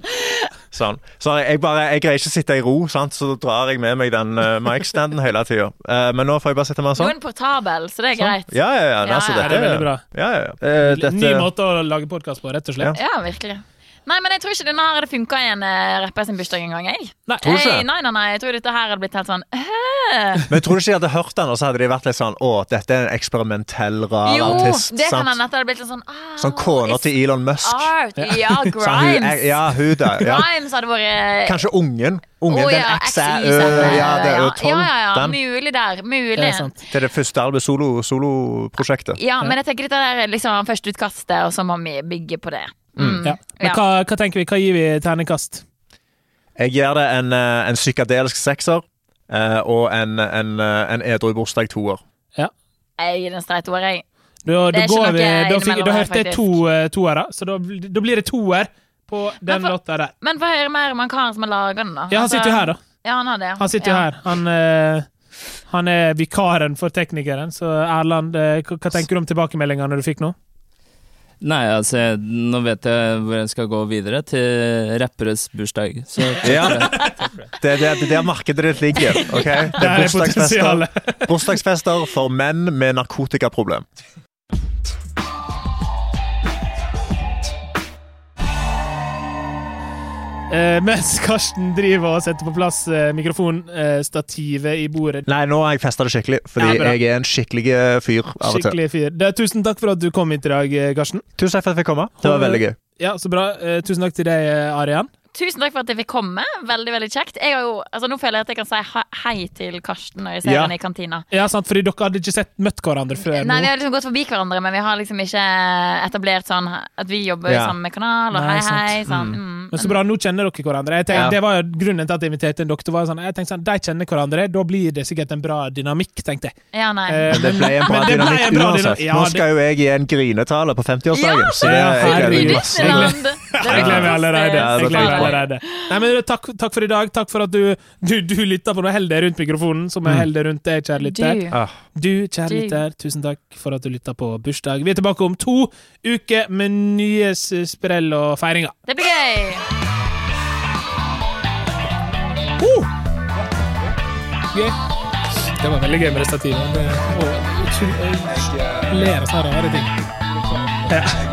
S2: Sånn. Så jeg, bare, jeg greier ikke å sitte i ro, sant? så da drar jeg med meg den uh, mic-standen hele tida. men nå får jeg bare sitte mer
S3: Du
S2: sånn.
S3: er portabel, så det er greit.
S2: Ja, ja, ja. Nei,
S3: Ja,
S2: så dette
S3: ja.
S1: Ja, det er veldig bra.
S2: Ja, ja, ja. Eh,
S1: Ny
S2: dette,
S1: måte å lage podkast på, rett og slett.
S2: Ja.
S3: Ja, virkelig. Nei, men jeg tror ikke denne her hadde funka i en eh, rapper sin bursdag engang. jeg.
S1: Nei.
S2: Tror du ikke?
S3: Nei, nei, nei, nei, jeg tror dette her hadde blitt helt sånn øh.
S2: men tror du ikke de hadde hørt den, og så hadde de vært litt sånn Å, dette er en eksperimentell, rar
S3: Jo,
S2: artist.
S3: det kan
S2: sant?
S3: hende at det hadde blitt litt sånn ah,
S2: Sånn kona
S3: it's
S2: til Elon Musk.
S3: Art. Ja,
S2: Sa hun-
S3: Grimes.
S2: Ja, hun der. Ja.
S3: Grimes hadde vært eh,
S2: Kanskje ungen. Ungen,
S3: Å,
S2: den
S3: ja,
S2: X er
S3: XY,
S2: ø,
S3: stemmer.
S2: ja, det er ø
S3: Ja, ja, ja,
S2: Den,
S3: Mulig der. Mulig.
S1: Det er sant.
S2: det er det første albumet solo, soloprosjektet.
S3: Ja, men jeg tenker dette der er liksom første utkastet, og så må vi bygge på det. Mm.
S1: Ja. Men
S3: Ja.
S1: hva, hva tenker vi? Hva gir vi terningkast?
S2: Jeg gir det en, eh, en psykadelisk sekser eh, og en, en, eh, en edru bursdag toer.
S3: Jeg gir den streit over, jeg.
S1: Da,
S3: Det
S1: da
S3: er ikke
S1: går
S3: noe
S1: vi Da, fikk,
S3: innimellom
S1: da
S3: her,
S1: hørte jeg
S3: faktisk.
S1: to eh, toere, så da, bl- da blir det toer på den
S3: Men for-
S1: låta der.
S3: Men få høre mer om han karen som har laga den, da.
S1: Ja, han
S3: Altså-
S1: sitter jo her, da.
S3: Ja, han har det.
S1: Han sitter jo
S3: ja.
S1: her. Han, eh, han er vikaren for teknikeren, så Erland, eh, hva hva tenker du om tilbakemeldingene du fikk nå?
S8: Nei, altså, jeg- nå vet jeg hvor jeg skal gå videre, til rapperes bursdag. Så
S2: Ja. [LAUGHS] Det, det, det er der markedet ditt ligger. ok? Det
S1: Der er
S2: er bursdagsfester,
S1: potensialet.
S2: bursdagsfester for menn med narkotikaproblem.
S1: Eh, mens Karsten driver og setter på plass eh, mikrofonstativet i bordet.
S2: Nei, nå har jeg festa det skikkelig, fordi
S1: Ja, bra.
S2: jeg er en skikkelig eh, fyr av og til.
S1: Skikkelig fyr. Det, tusen takk for at du kom hit i dag, eh, Karsten. Mm.
S2: Tusen takk for at jeg fikk komme. Det var veldig gøy.
S1: Ja, så bra. Eh, tusen takk til deg, eh, Arian.
S3: tusen takk for at jeg fikk komme. Veldig veldig kjekt. Jeg har jo, altså Nå føler jeg at jeg kan si he- hei til Karsten når jeg ser
S2: Ja.
S3: henne i kantina.
S1: Ja, sant, fordi dere hadde ikke sett møtt hverandre før
S3: Nei,
S1: nå.
S3: Vi har liksom gått forbi hverandre, men vi har liksom ikke etablert sånn at vi jobber
S2: Ja.
S3: i samme kanal. Og
S1: Nei,
S3: hei,
S1: sant.
S3: hei, sånn. Mm.
S1: Men så bra, nå kjenner dere hverandre. Jeg tenkte,
S2: Ja.
S1: Det var jo grunnen til at jeg inviterte inn dere. Var jo sånn, jeg tenkte sånn, De kjenner hverandre, da blir det sikkert en bra dynamikk, tenkte jeg.
S3: Ja, nei.
S1: Eh,
S2: Det ble en bra
S1: men det ble
S2: dynamikk
S1: en bra
S2: uansett.
S1: dynamikk. Ja,
S2: Nå
S1: det-
S2: skal jo jeg gi en grinetale på 50-årsdagen,
S3: Ja,
S2: så det
S1: ja,
S2: jeg gleder
S1: herregud.
S2: meg masse.
S3: Disneyland!
S1: Jeg gleder meg
S3: eh,
S1: allerede.
S2: Ja, det
S1: Jeg gleder meg
S2: blir bra.
S1: allerede. Nei, men takk, takk for i dag. Takk for at du, du, du lytta på meg. Hold deg rundt mikrofonen, som
S2: Mm.
S1: jeg holder rundt deg, kjære lytter.
S3: Du.
S2: Ah,
S1: Du, kjære
S3: Du.
S1: lytter, tusen takk for at du lytta på bursdag. Vi er tilbake om to uker med nye s- sprell og feiringer.
S3: Det blir gøy!
S1: Oh! Gøy. Det var veldig gøy med det stativet. Det- og- Jeg ler av sånne rare ting. Ja.